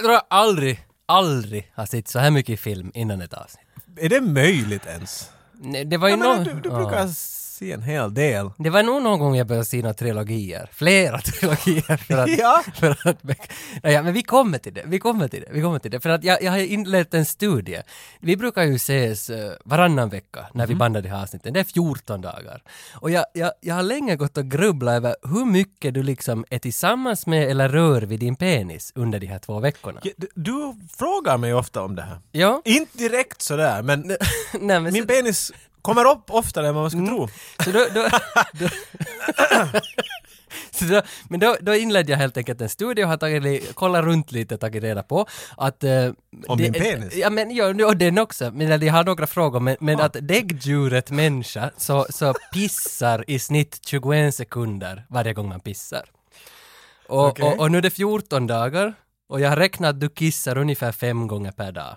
tror jag aldrig, aldrig har sett så här mycket film innan ett avsnitt. Är det möjligt ens? Nej, det var ju Jag menar, någon... du, du ja. brukar se en hel del. Det var nog någon gång jag började se några trilogier. Flera trilogier. För att, Ja. för att, nej, ja, men vi kommer till det. Vi kommer till det. Vi kommer till det. För att jag, jag har inlett en studie. Vi brukar ju ses eh, varannan vecka när vi bandar de här avsnitten. Det är 14 dagar. Och jag, jag, jag har länge gått och grubblat över hur mycket du liksom är tillsammans med eller rör vid din penis under de här två veckorna. Ja, du- Du frågar mig ofta om det här. Ja. Inte direkt sådär, men Nej, men min så- Mm. penis kommer upp oftare än vad man skulle tro. Så då, då, då, så då, men då, då inledde jag helt enkelt en studie och har tagit, li- kollat runt lite och tagit reda på att... eh, Om det- din penis? Ah. Ja, men ja, och den också. Men jag har några frågor, men, men att däggdjuret människa så, så pissar i snitt 21 sekunder varje gång man pissar. Och, Okej. och, och nu är det 14 dagar och jag har räknat att du kissar ungefär fem gånger per dag.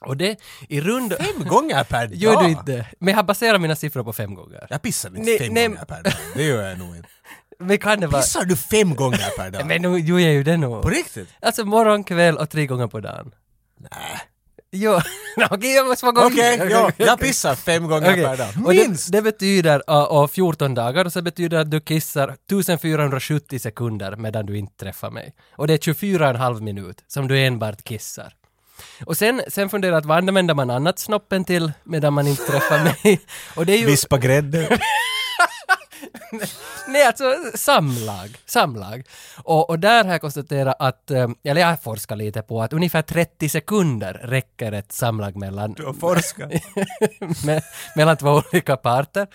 Och det i rund... Fem gånger per dag? Gör du inte? Men jag har baserat mina siffror på fem gånger. Jag pissar inte Nej, fem nej. gånger per dag. Det gör jag nog inte. Men kan det vara... Pissar du fem gånger per dag? Men nu gör jag ju det På nog. riktigt? Alltså morgon, kväll och tre gånger på dagen. Nej. Jo, okej jag måste vara Okej, ja, jag pissar fem gånger Okej. per dag. Och Minst! det, det betyder, ja, och 14 dagar, och så betyder det att du kissar 1470 sekunder medan du inte träffar mig. Och det är 24,5 minut som du enbart kissar. Och sen, sen funderar jag att vad använder man annat snoppen till medan man inte träffar mig? Och det är ju... Vispa grädde. Nej, alltså samlag. samlag. Och, och där har jag konstaterat att, eh, eller jag har forskat lite på att ungefär 30 sekunder räcker ett samlag mellan, Du har forskat. me, mellan två olika parter.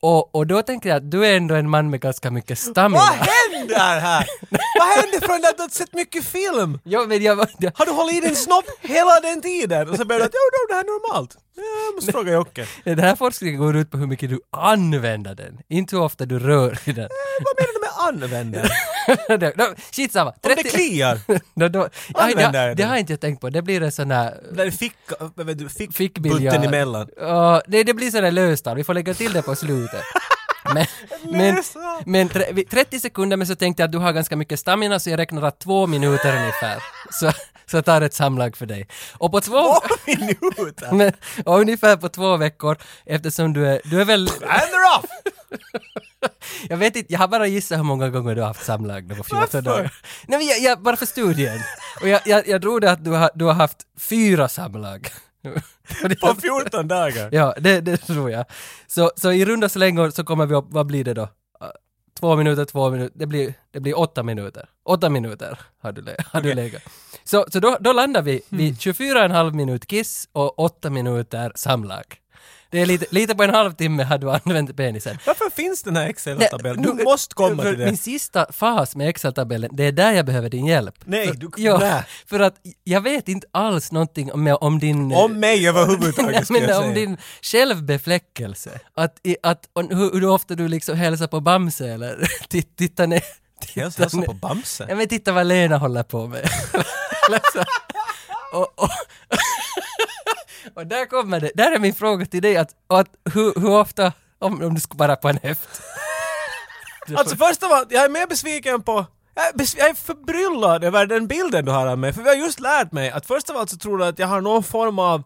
Och, och då tänker jag att du är ändå en man med ganska mycket stamina. Vad händer här? Vad händer från det att du har sett mycket film? Jo, men jag, jag, Har du hållit i din snopp hela den tiden? Och så börjar du att jo, jo, det här är normalt. Ja, Jag måste fråga Jocke. den här forskningen går ut på hur mycket du använder den, inte hur ofta du rör i den. Vad menar du med använder? Det- no, Skitsamma. Om det kliar? no, no, aj, Använder det, jag det den? har inte jag tänkt på. Det blir en sån här Där ficka, vad vet du, fick, fick bunten emellan. Ja, det, det blir sådär löstal, vi får lägga till det på slutet. Men, men, Löstal. men tre- vi- 30 sekunder, men så tänkte jag att du har ganska mycket stamina så jag räknar att två minuter ungefär. Så, så jag tar ett samlag för dig. Och på två... Två minuter! Men, och ungefär på två veckor, eftersom du är, du är väl... And they're off! Jag vet inte, jag har bara gissat hur många gånger du har haft samlag nu på 14 Varför? dagar. Nej men jag, jag, bara för studien. Och jag, jag, jag tror det att du har, du har haft fyra samlag. Och det- På 14 dagar. Ja, det, det tror jag. Så, så i runda slängor så kommer vi upp, vad blir det då? Uh, Två minuter, två minuter, det blir, det blir åtta minuter. Åtta minuter har du, lä- har du legat. Så, så då, då landar vi Hmm. vid 24,5 minut kiss och åtta minuter samlag. Det är lite, lite på en halvtimme har du använt penisen. Varför finns den här Excel-tabellen? Nej, Du måste komma för till det. Min sista fas med Excel-tabellen, det är där jag behöver din hjälp. Nej, du- ja, nej. För att jag vet inte alls någonting om, om din... Om mig överhuvudtaget Nej, skulle men jag om säga. din självbefläckelse. Att, i, att och hur, hur ofta du liksom hälsar på Bamse eller titt, titta ner. Jag Titta hälsar ner. på Bamse. Ja men titta vad Lena håller på med. Eller så. och, och, och där kommer det, där är min fråga till dig att, och att hur, hur ofta, om, om du skulle bara på en höft. Alltså först av allt, jag är mer besviken på... Jag är, bes- jag är förbryllad över den bilden du har av mig, för vi har just lärt mig att först av allt så tror du att jag har någon form av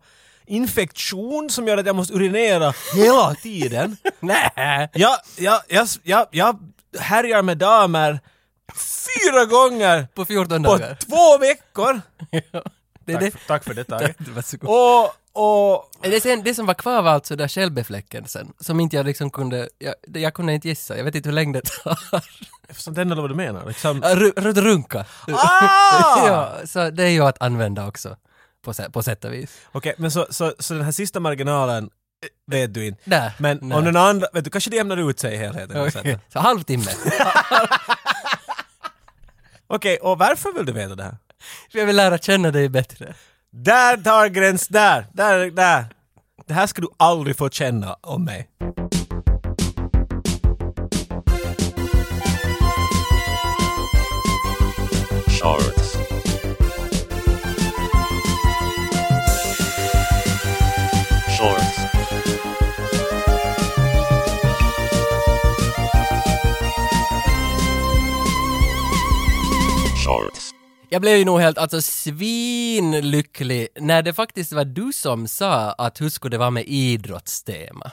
infektion som gör att jag måste urinera hela tiden. Nej. Jag, jag, jag, jag, jag härjar med damer fyra gånger På 14 på dagar. två veckor. Det, är det, tack för det, Tage. Varsågod. Och, och Det, sen, det som var kvar var alltså där självbefläckelsen, som inte jag liksom kunde, jag, det- jag kunde inte gissa, jag vet inte hur länge det tar. Jag förstår inte vad du menar. Liksom. Ja, ru- ru- Runka. Ah! ja, så det är ju att använda också, på, sä- på sätt och vis. Okej, men så, så, så den här sista marginalen eh, vet du inte. Där. Men om den andra, vet du, kanske det jämnar ut sig i helheten. på sättet. Okej, Så halvtimme. Okej, och varför vill du veta det här? Jag vill lära känna dig bättre. Där tar gräns, där, där, där. Det här ska du aldrig få känna om mig. Shorts. Shorts. Shorts. Ja, jag blev ju nog helt alltså svinlycklig när det faktiskt var du som sa att hur skulle det vara med idrottstema?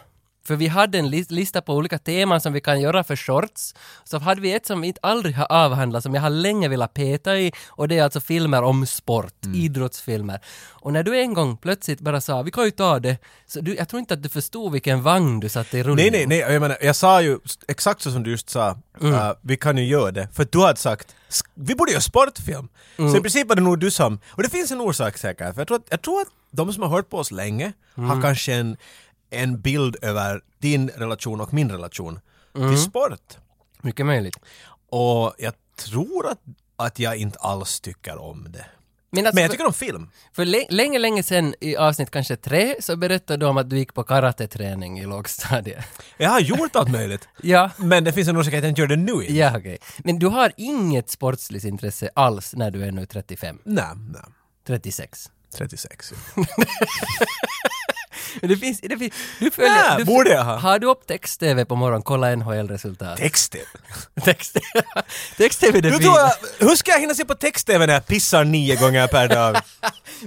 För vi hade en lis- lista på olika teman som vi kan göra för shorts. Så hade vi ett som vi inte aldrig har avhandlat, som jag har länge velat peta i. Och det är alltså filmer om sport, Mm. idrottsfilmer. Och när du en gång plötsligt bara sa vi kan ju ta det, så du, jag tror inte att du förstod vilken vagn du satte i rullning. Nej, nej, nej, jag menar, jag sa ju s- exakt så som du just sa, Mm. äh, vi kan ju göra det. För du hade sagt, "Sk- vi borde göra sportfilm. Mm. Så i princip var det nog du som, och det finns en orsak säkert, för jag tror att, jag tror att de som har hört på oss länge Mm. har kanske en, en bild över din relation och min relation Mm. till sport. Mycket möjligt. Och jag tror att, att jag inte alls tycker om det. Men, alltså, Men jag för- tycker om film. För lä- länge, länge sedan i avsnitt kanske tre så berättade du om att du gick på karateträning i lågstadiet. Jag har gjort allt möjligt. Ja. Men det finns en orsak att jag inte gör det nu. igen. Ja, okej. Men du har inget sportsligt intresse alls när du är nu 35, Nej, nej. 36? 36. Men Det finns, det finns, du följer... Ja, du, borde jag ha. Har du upp text-tv på morgonen, kolla NHL-resultat? Texten. Text- Text-tv, det, Du fin- tror jag, hur ska jag hinna se på text-tv när jag pissar nio gånger per dag?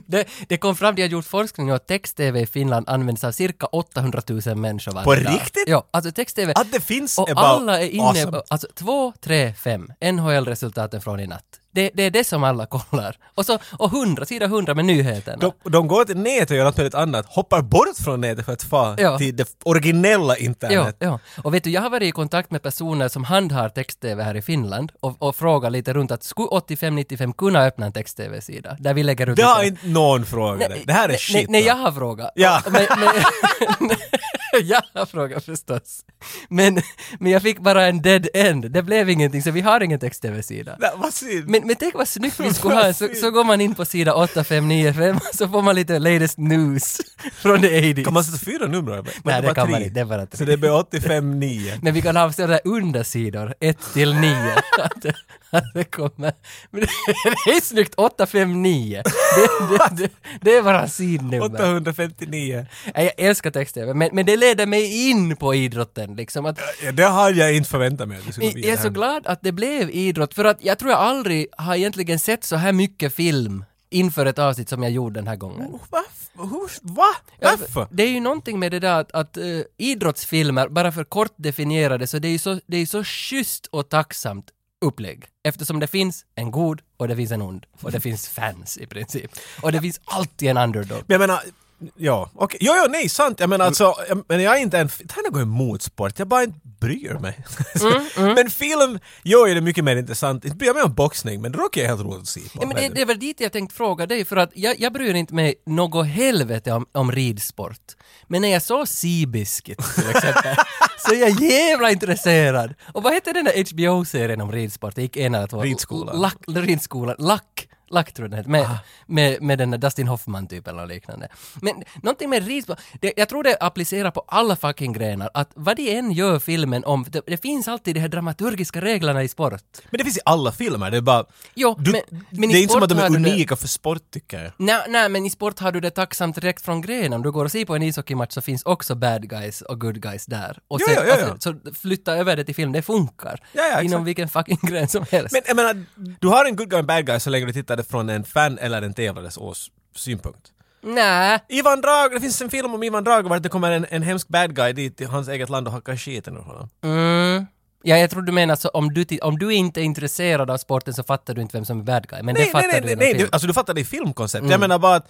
det, det kom fram, de har gjort forskning och att text-tv i Finland används av cirka 800 000 människor varje På dag. riktigt? Ja, alltså text-tv. Att det finns Och about alla är inne, awesome. alltså 2, 3, 5, NHL-resultaten från i natt. Det, det är det som alla kollar. Och så, och 100, sida 100 med nyheterna. De, de går till nätet och gör något väldigt annat, hoppar bort från nätet för att få Ja. till det originella Ja, internet. ja. Och vet du, jag har varit i kontakt med personer som handhar text-tv här i Finland och, och frågat lite runt att skulle 85-95 kunna öppna en text-tv-sida där vi lägger ut... Det har lite- inte någon frågat. Det här är nej, shit. Nej, nej, va? jag har frågat. Ja. Men, men, jag har frågat förstås. Men, men jag fick bara en dead end. Det blev ingenting, så vi har ingen text-tv-sida. Nej, vad synd. Men, men tänk vad snyggt vi skulle ha, så, så går man in på sida 8595 och så får man lite latest news från the 80s. Kan man sätta fyra nummer? eller? Men Nej, det var kan tre. man inte, det är bara tre. Så det blir 85 9. Men vi kan ha sådana där undersidor, 1 till 9. att, det- att det kommer... Men det är snyggt, 859. Det, det, det, det är bara sidnummer. 859. Nej, Jag älskar text-tv, men, men det leder mig in på idrotten liksom. Att, Ja, det hade jag inte förväntat mig att du skulle gå jag är vidare så här. glad att det blev idrott, för att jag tror jag aldrig har egentligen sett så här mycket film inför ett avsnitt som jag gjorde den här gången. Varför? Hur? Va? Varför? Det är ju någonting med det där att, att eh, idrottsfilmer, bara för kort definierade, så det är ju så, det är ju så schysst och tacksamt upplägg. Eftersom det finns en god och det finns en ond. Och det finns fans i princip. Och det finns alltid en underdog. Men jag menar, ja, okej. Jo, jo, nej, sant. Jag menar Mm. alltså, jag, men jag är inte en... Det här är något emot sport, jag bara inte bryr mig. Mm, Men film gör ju det mycket mer intressant. Inte bryr jag mig om boxning, men rock är helt roligt att se på. Ja, men det, Men- det är väl dit jag tänkt fråga dig, för att jag, jag bryr inte mig något helvete om, om ridsport. Men när jag såg Seabiscuit till exempel, så är jag jävla intresserad. Och vad hette den där HBO-serien om ridsport? Det gick en eller två... Ridskolan. Ah. Lack, ridskolan. Lack. Lack tror jag den hette. Med, med, med den där Dustin Hoffman typen eller liknande. Men någonting med ridsport, det, jag tror det applicerar på alla fucking grenar, att vad de än gör filmen om, det, det finns alltid de här dramaturgiska reglerna i sport. men det finns i alla filmer, det är bara... Jo, du, men- men i det är inte som sport att de är har du det- unika för sport, tycker jag. Nej, nej, men i sport har du det tacksamt direkt från grenen. Om du går och ser på en ishockeymatch så finns också bad guys och good guys där. Och Ja, sen, ja, ja, ja. Alltså, så flytta över det till film, det funkar. Ja, ja, Inom exakt. vilken fucking gren som helst. Men jag menar, du har en good guy och en bad guy så länge du tittar det från en fan eller en tävlandes ås synpunkt. nej. Ivan Drago, det finns en film om Ivan Drago vart det kommer en, en hemsk bad guy dit till hans eget land och hackar skiten ur honom. Mm. Ja, jag tror du menar så om du, ti- om du inte är intresserad av sporten så fattar du inte vem som är bad guy. Men det fattar nej, du Mm. nej, inom nej, film. du, alltså du fattar det i filmkoncept. Jag menar bara att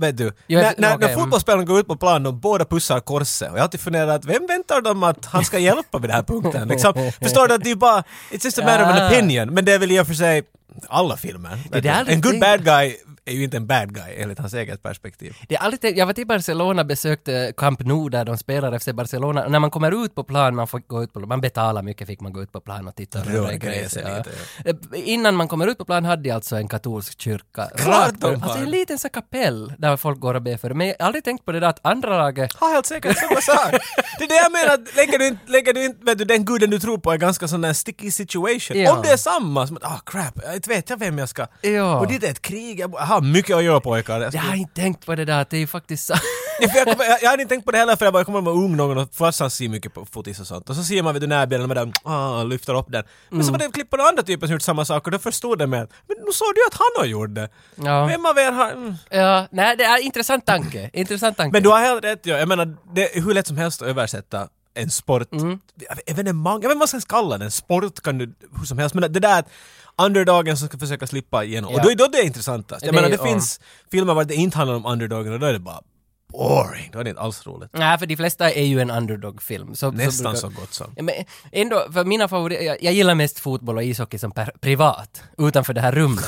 Vet du, Jo, när, jag- när, okej, mm. när fotbollsspelaren går ut på plan och båda pussar korset och jag har alltid funderat att vem väntar de att han ska hjälpa vid den här punkten? Liksom, förstår du att det är bara, it's just a matter of Ah. an opinion. Men det är väl i och för sig alla filmer. där vet du. jag En good tänkte. bad guy är ju inte en bad guy enligt hans eget perspektiv. Det är alltid, jag var till Barcelona besökte Camp Nou där de spelar FC Barcelona. Och när man kommer ut på plan, man får gå ut på man betalar mycket fick man gå ut på plan och titta. och Rör röra i gräset gräset, lite, Eh, Innan man kommer ut på plan hade jag alltså en katolsk kyrka. Klart de upp. Alltså har. en liten så kapell där folk går och ber för det. Men jag har aldrig tänkt på det där att andra laget Har helt säkert samma sak. Det är det jag menar, att lägger du inte, lägger du inte, vet du, den guden du tror på är ganska sån där sticky situation. Ja. Om det är samma, som att ah crap, jag inte vet jag vem jag ska. Ja. Och det är ett krig, jag bo- jag har mycket att göra pojkar. Jag Jag ska- har inte tänkt på det där att det är ju faktiskt sa- Ja, för jag, kommer, jag, jag hade inte tänkt på det heller för jag, bara, jag kommer ihåg att jag var ung någon gång och farsan ser mycket på fotis och sånt. Och så ser man vid den här bilden och man där, ah, lyfter upp den. Men Mm. så var det klipp på den andra typen som gjort samma sak och då förstod jag med men nu såg du ju att han har gjort det. Ja. Vem av er har... Mm. Ja, nej, det är intressant tanke. Intressant tanke. Men du har helt rätt, ja. jag menar det är hur lätt som helst att översätta en sport, Mm. evenemang, jag vet inte vad man ska kalla den, sport kan du hur som helst, men det där att underdagen som ska försöka slippa igenom, Ja. och då är då är det intressantast. Jag Det är- menar det ja. finns filmer var det inte handlar om underdagen och då är det bara boring, då är det inte alls roligt. Nej, för de flesta är ju en underdog-film. Så, Nästan brukar- så gott som. Ja, men ändå, för mina favoriter, jag, jag gillar mest fotboll och ishockey som per, privat, utanför det här rummet.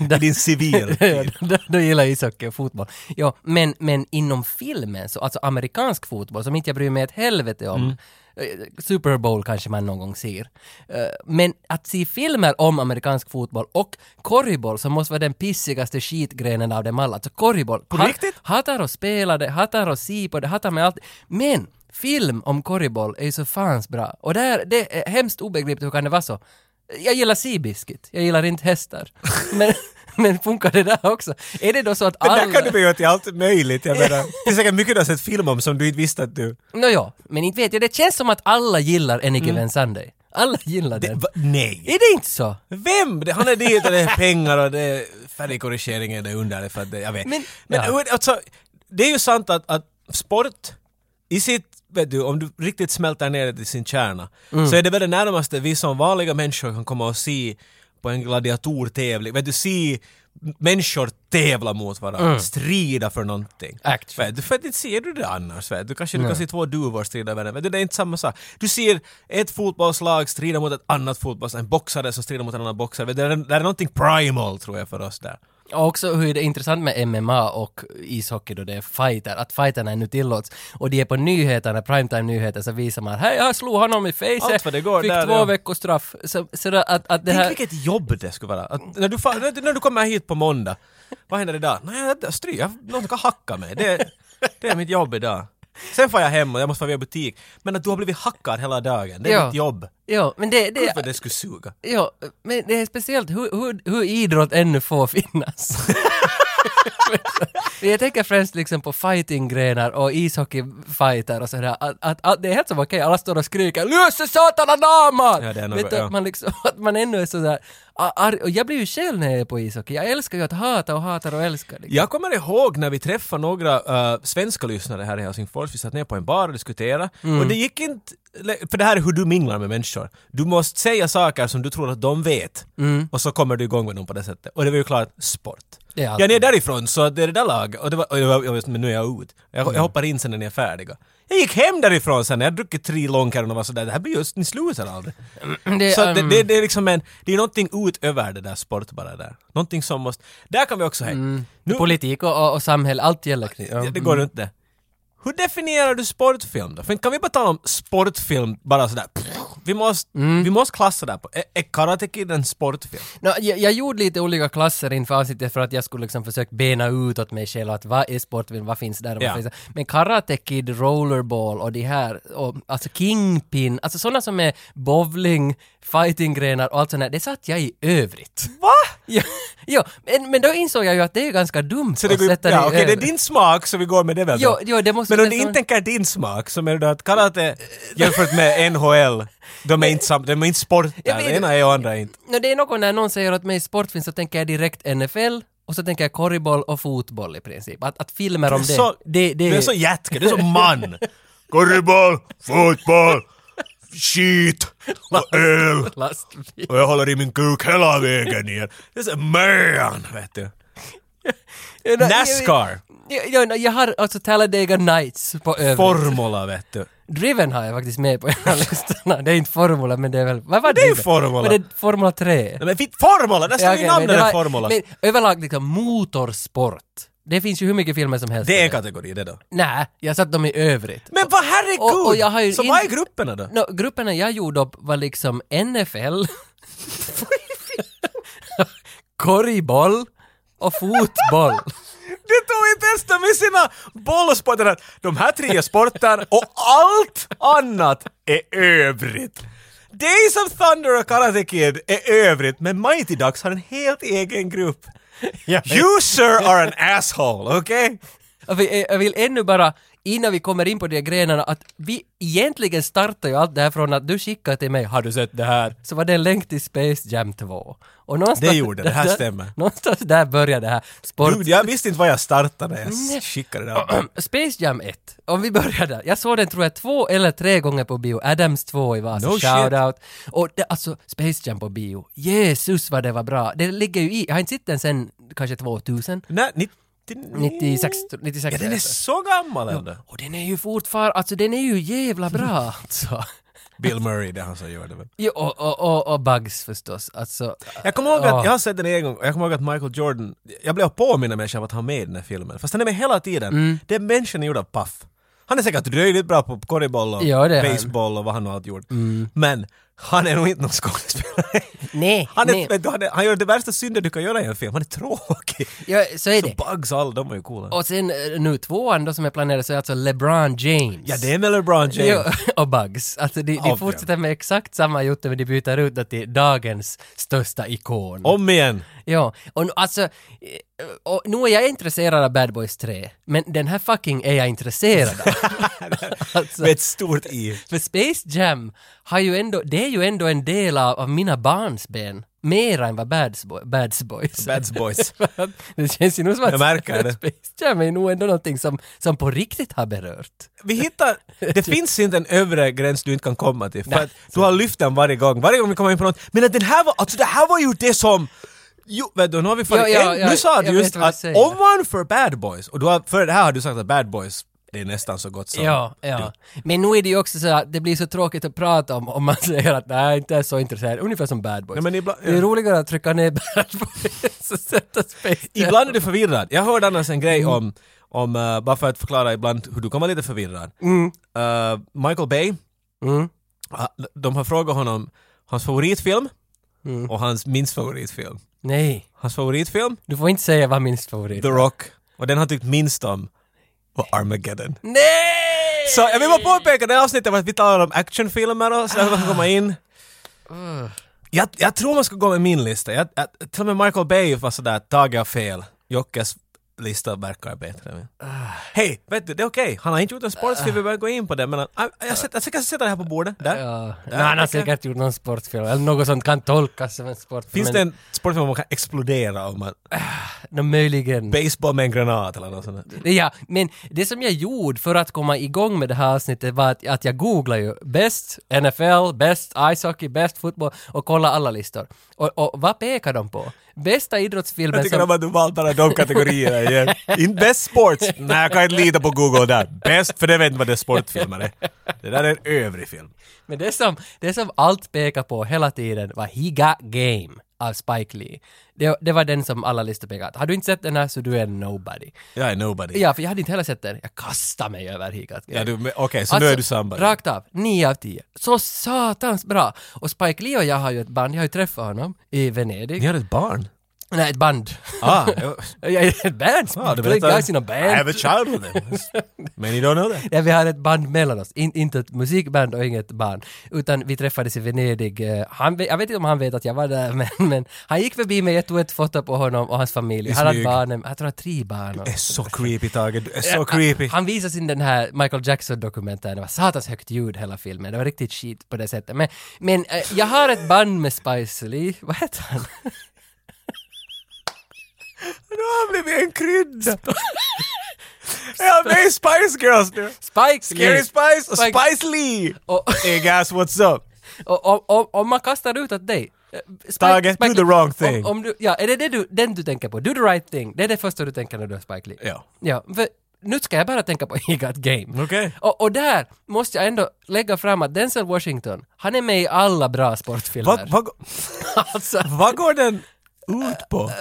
I din civil Ja, tid. då, då gillar jag ishockey och fotboll. Ja, men, men inom filmen, så, alltså amerikansk fotboll, som inte jag bryr mig ett helvete om. Eh, Super Bowl kanske man någon gång ser. Eh, Men att se filmer om amerikansk fotboll och korgboll som måste vara den pissigaste skitgrenen av dem alla. Alltså korgboll. På riktigt? Hatar att spela det, hatar att se på det, hatar med allt. Men film om korgboll är ju så fans bra. Och där, det är hemskt obegripligt hur kan det vara så. Jag gillar Seabiscuit, jag gillar inte hästar. Men, men funkar det där också? Är det då så att Men alla... där kan du bli till allt möjligt, jag menar. Det är säkert mycket du har sett film om som du inte visste att du... Nåja, men inte vet jag. Det känns som att alla gillar Any Given Sunday. Alla gillar Mm. Det, den. va, nej! Är det inte så? Vem? Det- Han är dit och det är pengar och det är färgkorrigeringen är under för att det, jag vet. Men- Men, Ja. hur- alltså, det är ju sant att, att sport i sitt, vet du, om du riktigt smälter ner det till sin kärna så är det väl det närmaste vi som vanliga människor kan komma och se på en gladiatortävling, vet du, se människor tävla mot varandra, strida för någonting. Action. Vet du, för att inte ser du det annars. Vet du kanske du kan se två duvor strida med varandra. Vet du, det är inte samma sak. Du ser ett fotbollslag strida mot ett annat fotbollslag, en boxare som strider mot en annan boxare. Vet du, det, är, det är någonting primal tror jag för oss där. Och också hur det är intressant med MMA och ishockey då det är fighter, att fighterna nu tillåts. Och de är på nyheterna, primetime-nyheter, så visar man här jag slog honom i Allt facet, vad det går fick där, två ja. veckors straff. Så, så där att, att det Tänk här... vilket jobb det skulle vara. Att när, du, fa- när du- när du kommer hit på måndag, vad händer idag? Nej, jag stryk, jag, någon kan hacka mig. Det, det är mitt jobb idag. Sen får jag hem och jag måste vara i butik. Men att du har blivit hackad hela dagen, det är Ja. mitt jobb. Ja, men det... det Gud vad det skulle suga. Ja, men det är speciellt hur, hur, hur idrott ännu får finnas. Men jag tänker främst liksom på fightinggrenar och ishockeyfighter och sådär. Att, att, att det är helt som okej, alla står och skriker ”Löse satana naman!” Ja, det är något- Vet du, ja. att man liksom, att man ännu är sådär a- arg. Och jag blir ju själv när jag är på ishockey. Jag älskar ju att hata och hatar och älskar. Liksom. Jag kommer ihåg när vi träffade några eh, svenska lyssnare här i Helsingfors. Vi satt ner på en bar och diskuterade. Mm. Och det gick inte... För det här är hur du minglar med människor. Du måste säga saker som du tror att de vet. Och så kommer du igång med dem på det sättet. Och det var ju klart sport. Mm. Det är allt. Jag är därifrån så det är det där laget. Och, det var, och jag, var- jag, var- men nu är jag ut. Jag, Mm. jag hoppar in sen när ni är färdiga. Jag gick hem därifrån sen när jag druckit tre långkärror och var sådär, det här blir just, ni slutar aldrig. Det, Så det, um, det, det är liksom en, det är någonting utöver det där sport bara där. Någonting som måste, där kan vi också hänga. Mm. Nu- Politik och, och, och samhälle, allt gäller kring Ja, det går inte. Hur definierar du sportfilm då? För kan vi bara tala om sportfilm bara sådär? pff, Vi måste, Mm. vi måste klassa det här på. Är, är Karate Kid en sportfilm? Nå, jag, jag gjorde lite olika klasser inför avsnittet för att jag skulle liksom försöka bena ut åt mig själv att vad är sportfilm, vad finns där och vad Ja. finns där. Men Karate Kid, Rollerball och de här, och, alltså Kingpin, alltså sådana som är bowling, fightinggrenar och allt sånt där, det satt jag i övrigt. Va? ja, ja men, men då insåg jag ju att det är ganska dumt Så det att går, ju- sätta ja, i okej, det är övrigt. din smak så vi går med det väl eh, Jo, då? jo, det måste Men om nästan- du inte tänker din smak så menar du att karate jämfört med NHL, de är inte, sam, de är inte sporter. Jag Det vet- ena är och andra är inte. Nå, det är något när någon säger åt mig sportfilm så tänker jag direkt NFL och så tänker jag korrboll och fotboll i princip. Att, att filmer om det, Så, det, det Du är så jätke, du är så man. Korriboll, fotboll, skit och öl. lastbil. Och jag håller i min kuk hela vägen ner. Det är så man, vet du. Nascar, Ja, ja, no, jag har alltså Talladega Nights på övrigt. Formula vet du. Driven har jag faktiskt med på en av listorna. Det är inte Formula, men det är väl... Vad var det är ju Driven? Formula. Var det Formula 3? Nej men fint, Formula! Där står Ja, ju okej, namnet men det där, var- Formula. Men överlag liksom motorsport. Det finns ju hur mycket filmer som helst. Det är en kategori det då. Nej, jag satt dem i övrigt. Men vad herregud! Och- och jag har ju så in- vad är grupperna då? No, grupperna jag gjorde upp var liksom NFL, korriboll och fotboll. Du tog inte ens dem i sina bollsporter. här. De här tre är sporter och allt annat är övrigt. Days of Thunder och Karate Kid är övrigt, men Mighty Ducks har en helt egen grupp. You sir are an asshole, okej? Jag vill, jag vill ännu bara, innan vi kommer in på de grenarna, att vi egentligen startar ju allt det här från att du skickade till mig, har du sett det här? Så var det en länk till Space Jam 2. Och någonstans, Det gjorde det, det här där- stämmer. Någonstans där börjar det här. Sport, Gud, jag visste inte var jag startade när Nej. jag skickade det här. Space Jam 1, om vi börjar där. Jag såg den tror jag två eller tre gånger på bio. Adams 2 i Vasa, No shit. shoutout. Och det, alltså Space Jam på bio, Jesus vad det var bra. Det ligger ju i, jag har inte sett den sen kanske 2000, Nej, 99... 96, 96 Ja, den är så gammal ändå. Och den är ju fortfarande, alltså den är ju jävla bra alltså. Bill Murray, det är han som gör det väl. Jo, och, och, och, och Bugs förstås, alltså. Jag kommer ihåg Ja. att, jag har sett den en gång, och jag kommer ihåg att Michael Jordan, jag blev påminna mig själv att han är med i den här filmen. Fast han är med hela tiden. Mm. Den människan är gjord av paff. Han är säkert röjligt bra på korreboll och Ja, det är han. Mm. baseball och vad han har allt gjort. Men han är nog inte någon skådespelare. Nej, Han, nej. är, vet du, han, är, han gör det värsta synden du kan göra i en film, han är tråkig. Ja, så är det. Så Bugs och alla, de var ju coola. Och sen eh, nu tvåan då som är planerad så är alltså LeBron James. ja, det är med LeBron James. Jo, och Bugs. Alltså de, de Obvious. fortsätter med exakt samma jutta men de byter ut det till dagens största ikon. Om igen! Ja, och nu- alltså, eh, och nu är jag intresserad av Bad Boys 3, men den här fucking är jag intresserad av. alltså, Med ett stort i. för Space Jam har ju ändå, det är ju ändå en del av, av mina barns ben. Mera än vad Bads, Boy, Bads Boys. Bads boys. det känns ju nog som att Jag märker det. Space Jam är nog ändå någonting som, som på riktigt har berört. Vi hittar... Det finns inte en övre gräns du inte kan komma till. För Nej. att du har lyft den varje gång. Varje gång vi kommer in på något. Men att den här var... Alltså det här var ju det som... Jo, vet du, nu har vi fan... Ja, ja, ja, nu sa jag du vet just vad du att säger. ovanför Bad Boys, och du har, för det här har du sagt att Bad Boys, det är nästan så gott som... Ja, ja. Men nu är det ju också så att det blir så tråkigt att prata om om man säger att nej, inte är så intresserad. Ungefär som Bad Boys. Nej, men ibland- Det är roligare att trycka ner Bad Boys och sätta Space Jam. Ibland är du förvirrad. Jag hörde annars en grej om, om eh, bara för att förklara ibland hur du kan vara lite förvirrad. Eh, Michael Bay, Mm. ha- de har frågat honom hans favoritfilm och hans minst favoritfilm. Nej, Hans favoritfilm? du får inte säga vad min favorit The Rock. Och den han tyckt minst om var Armageddon. Nej! Så jag vill bara påpeka det här avsnittet var att vi talar om actionfilmer och sådär, man kan komma in. Ah. Jag, jag tror man ska gå med min lista. Jag, jag, till och med Michael Bay var sådär, Tage har fel. Jockes lista verkar bättre. Ah. Hej, vet du, det är okej. Han har inte gjort en sportfilm, vi behöver gå in på det. Men han, jag, jag, sätter- jag ska sätta det här på bordet. Där. Ja, nej, Ja, han har okej. säkert gjort någon sportfilm eller något som kan tolkas som en sportfilm. men- Finns det en sportfilm man kan explodera om man... Nå, möjligen. Baseball med en granat eller något sånt där. Ja, men det som jag gjorde för att komma igång med det här avsnittet var att, att jag googlade ju bäst NFL, bäst ishockey, bäst fotboll och kolla alla listor. Och, och vad pekar de på? Bästa Jag idrottsfilmen tycker om som... att du valt bara de kategorierna igen. In best sports. Nej, jag kan inte lita på Google där. Bäst, för det vet inte vad det är sportfilmer är. Det där är en övrig film. Men det som, det som allt pekar på hela tiden var He Got Game av Spike Lee. Det, det var den som alla listor pekade på. Har du inte sett den här så du är nobody. Jag är nobody. Ja, för jag hade inte heller sett den. Jag kastade mig över He Got Game. Ja, du- men Okej, så nu är du somebody. Rakt av, 9 av 10. Så satans bra! Och Spike Lee och jag har ju ett band, jag har ju träffat honom i Venedig. Ni har ett barn? Nej, ett band. Ah, jag- Jag är ett band! ah Play guys in a I band. have a child with him. Men you don't know that. Ja, vi har ett band mellan oss, In, inte ett musikband och inget band. Utan vi träffades i Venedig. Eh, Han, ve- jag vet inte om han vet att jag var där, men, men han gick förbi mig, jag tog ett foto på honom och hans familj. I Han hade smyg. barnen, jag tror han har tre barn. Det är och- så creepy, Tage. Du är så creepy. Han visade sin den här Michael Jackson-dokumentären, det var satans högt ljud hela filmen, det var riktigt shit på det sättet. Men, men eh, jag har ett band med Spice Lee, vad heter han? Nu har han blivit en krydda. Är han med i Spice Girls nu? Spike Scary Lee! Spice och Spike- Spice Lee! Och, Hey guys, what's up? och, och, och om man kastar ut åt dig. eh, Spike- Tage, do Spike the Lee, wrong thing. Om, om du, ja, är det, det du, den du tänker på? Do the right thing. Det är det första du tänker när du har Spike Lee. Ja. Ja, för nu ska jag bara tänka på He Got Game. Okej. Och, och där måste jag ändå lägga fram att Denzel Washington, han är med i alla bra sportfilmer. Vad, vad, Alltså, vad går den ut på?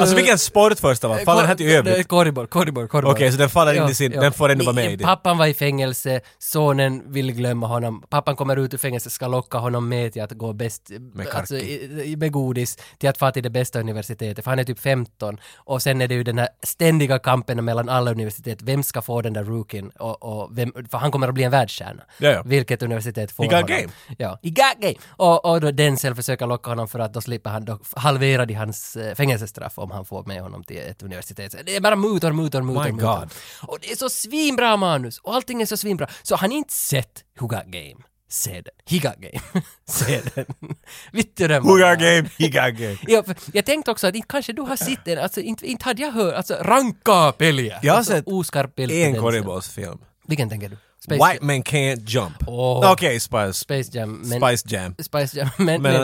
alltså vilken sport först av allt? Faller den här till Eh, Det är övrigt? Korribor, korribor, korribor. Okej, så den faller in i sin... Den får ändå vara med i Ni- det. Pappan var i fängelse, sonen vill glömma honom. Pappan kommer ut ur fängelse, ska locka honom med till att gå bäst, Med alltså, karki. i- i- med godis, till att få till det bästa universitetet, för han är typ 15. Och sen är det ju den här ständiga kampen mellan alla universitet, vem ska få den där rookien? Och, och vem, för han kommer att bli en världsstjärna. Ja, ja. Vilket universitet får He got honom? game. Ja, he got game! Och, och då Denzel försöker locka honom för att då slipper han, då halverar de hans hans eh, fängelsestraff om han får med honom till ett universitet. Så Det är bara mutor, mutor, mutor, My mutor. God. Och det är så svinbra manus och allting är så svinbra. Så han inte sett Who Got Game. Se den. He Got Game. Se den. Vittu Who got game? He got game. Ja, för jag tänkte också att inte kanske du har sett den, alltså inte, inte hade jag hört, alltså ranka peliä. Jag har Alltså, sett oskarp bild på En den. korrebollsfilm. Vilken tänker du? Space White Jam. man can't jump. Åh. Okej, Spice, Space Jam. Men, Spice Jam. Spice Jam. Men, Men- men,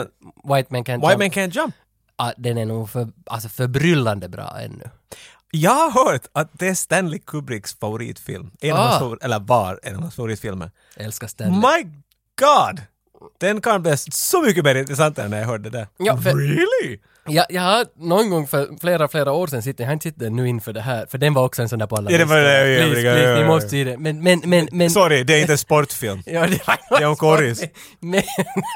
White Man Can't White Jump. man can't jump. Ah, den är nog för, alltså förbryllande bra ännu. Jag har hört att det är Stanley Kubricks favoritfilm. En av Ah. hans favor- eller var en av hans favoritfilmer. Jag älskar Stanley. My God! Den kan bli så mycket mer intressant än när jag hörde det där. Ja, för- Really? jag, jag har någon gång för flera, flera år sedan sett den, jag har inte sett den nu inför det här, för den var också en sån där på alla Ja, det var listor. det, ja, ja, Please, ja, ja, please, ni ja. måste se den. Men, men, men, men... Sorry, det är inte en sportfilm. Ja, det var Det är om korris. Men,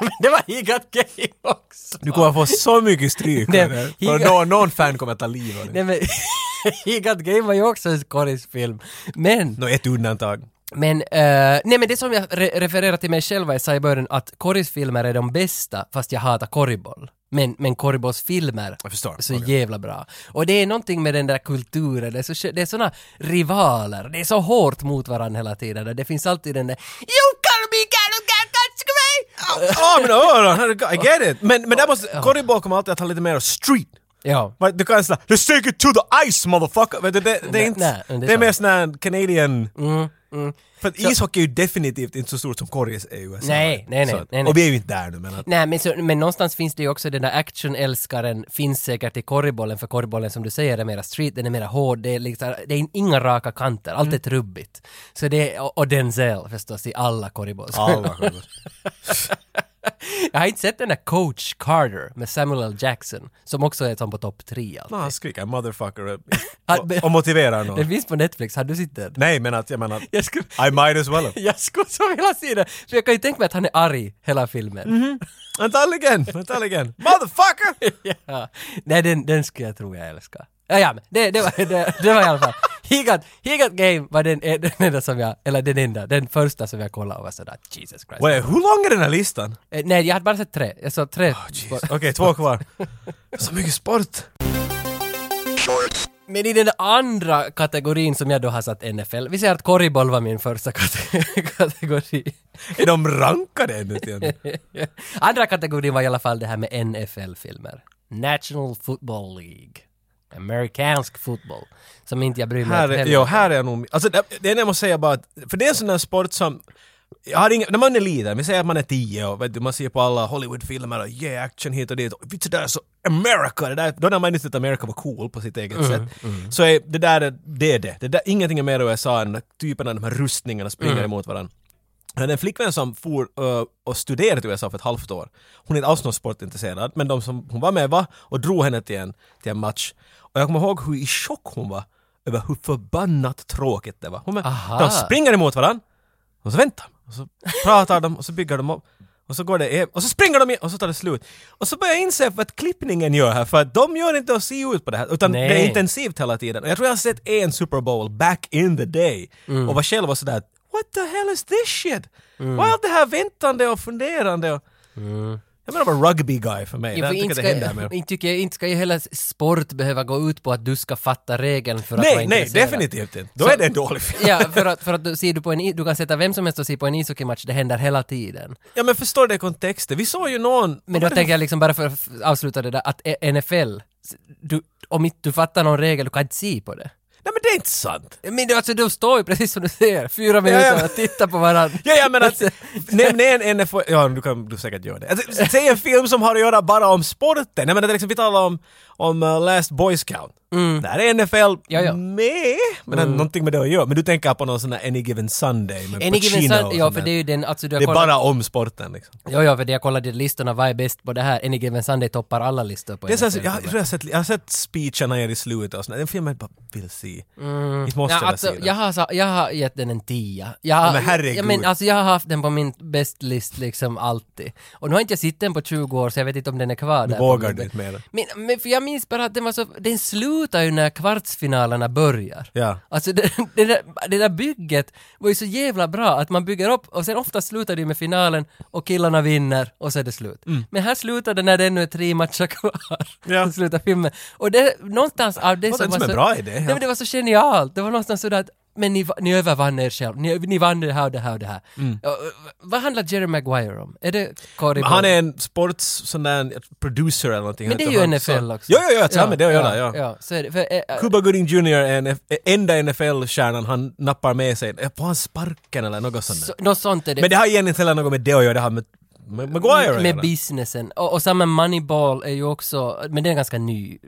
men det var He Got Game också. Du kommer få så mycket stryk. Nej, Gunnar. he För got- någon, någon fan kommer att ta livet av Nej dig. men, He Got Game var ju också en korrisfilm. Men, Nå, ett undantag. men, eh, nej men det som jag re- refererar till mig själv, jag sa i början att korrisfilmer är de bästa, fast jag hatar korriboll. Men, men korribollsfilmer Jag förstår. så Okej. jävla bra. Och det är någonting med den där kulturen, det är, så, skö- det är såna rivaler, det är så hårt mot varandra hela tiden och det finns alltid den där You call me girl, you can't touch me! Ja, Ah, men öron! herregud, I get it! Men, men där måste... Korriball kommer alltid att ha lite mer av street. Ja. Men Du kan säga “Let's take it to the ice, motherfucker!” Vet du, det, det är Nej, inte... nej, det men är, det är mer sant. sån här Canadian... Mm, mm. För att ishockey är ju definitivt inte så stort som korris är i USA. Nej, nej, nej, Så att- nej, nej. Och vi är ju inte där nu men... Att, Nej, men, så, men någonstans finns det ju också den där actionälskaren finns säkert i korribollen, för korribollen som du säger är mera street, den är mera hård, det är, liksom, det är inga raka kanter, allt är trubbigt. Så det är, och, och Denzel förstås i alla korribollsfilmer. alla sjunger. Jag har inte sett den där Coach Carter med Samuel L. Jackson, som också är som på topp tre alltid. Nå, han skriker “motherfucker” och, Han- och motiverar någon. Den finns på Netflix, har du sett den? Nej, men att jag menar... Jag skulle, I might as well. jag skulle så vilja se den, för jag kan ju tänka mig att han är arg hela filmen. Antagligen, antagligen. Motherfucker! ja. Nej, den, den skulle jag tro jag älskar. Ja, ja men det, det, var, det, det var i alla fall. He got, he got game var den, eh, den enda som jag, eller den enda, den första som jag kollade och var sådär Jesus Christ. Wait, hur lång är den här listan? Eh, nej, jag hade bara sett tre. Jag såg tre. Jeez. Okej, två kvar. Så mycket sport! Men i den andra kategorin som jag då har satt NFL, vi säger att korriboll var min första kate- kategori. Är de rankade ännu till en? Andra kategorin var i alla fall det här med NFL-filmer. National Football League. Amerikansk fotboll. Som inte jag bryr mig Här ett är, helvete jo, här är jag nog... Alltså, det, det enda jag måste säga bara att... För det är en sån där sport som... Jag har ingen, när man är liten, vi säger att man är tio och vet du, man ser på alla Hollywoodfilmer och yeah, action hit och dit. Och Vet du, det där är så America! Det där, då när man inte tyckte att America var cool på sitt eget sätt. Så är, det där är det. är det. det där, ingenting är mer USA än typen av de här rustningarna springer emot varandra. Jag hade en flickvän som for ö, och studerade i USA för ett halvt år. Hon är inte alls någon sportintresserad, men de som hon var med var och drog henne till en, till en match. Och jag kommer ihåg hur i chock hon var över hur förbannat tråkigt det var. Hon, Aha. de springer emot varandra, och så väntar de, och så pratar de, och så bygger de upp. Och så går det, och så springer de in, och så tar det slut. Och så börjar jag inse vad klippningen gör här, för att de gör inte att se ut på det här, utan Nej. det är intensivt hela tiden. Och jag tror jag har sett en Super Bowl back in the day, Mm. och var själv och sådär “What the hell is this shit?” Och allt det här väntande och funderande och... Jag menar bara rugby guy för mig, Ja, för jag tycker Mm. inte det ska, händer mer. inte tycker jag, inte ska ju hela sport behöva gå ut på att du ska fatta regeln för att vara Nej, nej, intresserad. definitivt inte. Då Så- är det en dålig film. Ja, för att, för att du, ser du, på en, i- du kan sätta vem som helst och se på en ishockeymatch, det händer hela tiden. Ja men förstår det kontexten, vi såg ju någon... Men då tänker jag liksom bara för att f- avsluta det där, att E- NFL, s- du, om inte du fattar någon regel, du kan inte se på det. Nej men det är inte sant! Men du, alltså, du står ju precis som du säger, fyra minuter ja. och tittar på varandra. Ja, ja men att nämn en NFL, ja du kan du säkert göra det. Alltså, säg en film som har att göra bara om sporten. Jag menar till exempel, vi talar om, om uh, Last Boy Scout. Där är NFL Mm. Ja, ja. med, men mm. någonting med det att göra. Men du tänker på någon sån där Any Given Sunday med Any given Pacino och Sunday, ja sånt för där. det är ju den, alltså du har det är kollat, bara om sporten liksom. ja, ja för det jag kollade i listorna, vad är bäst på det här? Any given Sunday toppar alla listor på Det är så, här- NFL. jag, jag, tror jag, har sett, jag har sett speecherna i slutet och sånt. där. Den filmen jag bara vill se. Inte Ja, måste jag alltså, säga det. jag, har, sa- jag har gett den en tia. Jag, men herregud. Jag, men, alltså, jag har haft den på min best list liksom alltid. Och nu har inte jag sett den på 20 år så jag vet inte om den är kvar där. på vågar min- du inte mera? Men, men för jag minns bara att den var så, den slutar ju när kvartsfinalerna börjar. Ja. Alltså det, det, där, det där bygget var ju så jävla bra att man bygger upp och sen ofta slutar det ju med finalen och killarna vinner och så är det slut. Men här slutar det när det ännu är tre matcher kvar. Mm. Ja. Så slutar filmen. Och det, någonstans av det låter som inte var som så... en bra idé, Nej, ja. men det var så genialt. Det var någonstans sådär att men ni, ni övervann er själv. Ni, ni vann det här och det här och det här. Ja, vad handlar Jerry Maguire om? Är det Corey Mm. Men han är en sports sån där producer eller någonting. Men det är Han ju heter han, NFL så- också. Jo, jo, jo, ja, men det gör det, ja. ja. så är det. För, eh, eh, Cuba Gooding Jr är en F- enda NFL-stjärnan han nappar med sig. Får han sparken eller något sånt? där? så, något sånt är det. Men det har egentligen inte heller något med det att göra, det har med med Maguire att med göra. businessen. Och, och samma Moneyball är ju också, men den är ganska ny,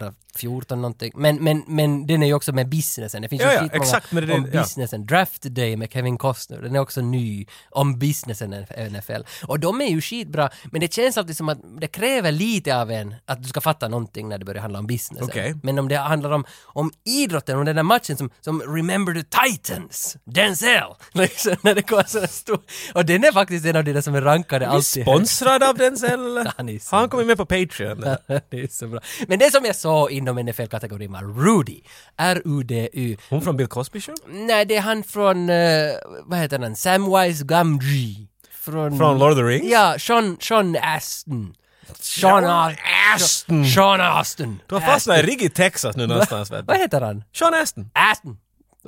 2014 någonting. Men, men, men den är ju också med businessen. Det finns Ja, ju ja, skitmånga exakt, men det är- om ja. businessen. Draft Day med Kevin Costner, den är också ny om businessen i NFL. Och de är ju skitbra, men det känns alltid som att det kräver lite av en att du ska fatta någonting när det börjar handla om businessen. Okej. Men om det handlar om, om idrotten, om den där matchen som, som Remember the Titans, Denzel, liksom, när det går sådana stor... Och den är faktiskt en av de där som är rankade Är alltid högt. Sponsrad av Denzel eller? Han är så Har han kommit med på Patreon? det är så bra. Men det som jag sa inom NFL-kategorin var Rudy. R-U-D-U. Hon från Bill Cosby Show? Nej, det är han från, eh, vad heter han, Samwise Gamgee. Från, Från Lord of the Rings? Ja, Sean, Sean Aston. Sean Aston. Aston! Sean Aston. Du har fastnat i riktigt Texas nu någonstans vet Vad du. heter han? Sean Aston. Aston.